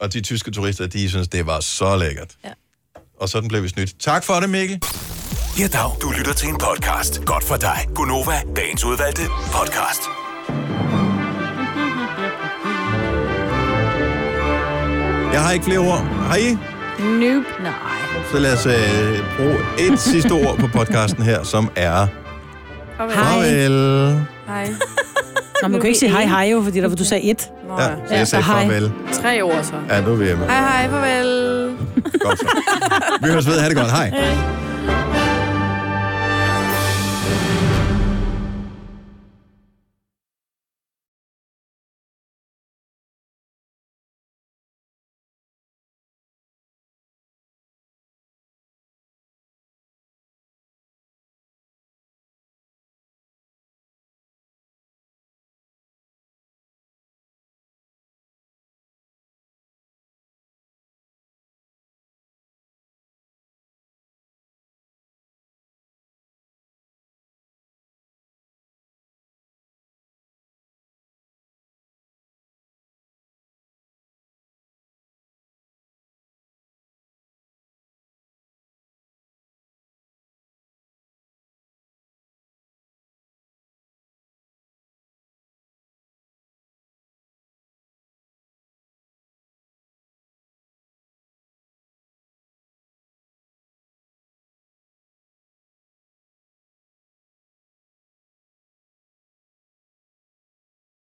A: Og de tyske turister, de synes, det var så lækkert. Ja. Og sådan blev vi snydt. Tak for det, Mikkel.
U: Ja, dag. Du lytter til en podcast. Godt for dig. Gunova, dagens udvalgte podcast.
A: Jeg har ikke flere ord. Har I?
C: Nope. Nej.
A: Så lad os øh, bruge et sidste ord på podcasten her, som er... Farvel.
D: Hej.
B: Nå, man kan ikke sige hej hej jo, fordi der, du sagde et.
A: Ja, så jeg sagde farvel.
D: Tre ord så.
A: Ja, nu er vi hjemme.
D: Hej, hej, farvel.
A: Vi høres ved. Ha' det godt. Hej.
B: Øh.
D: Hej.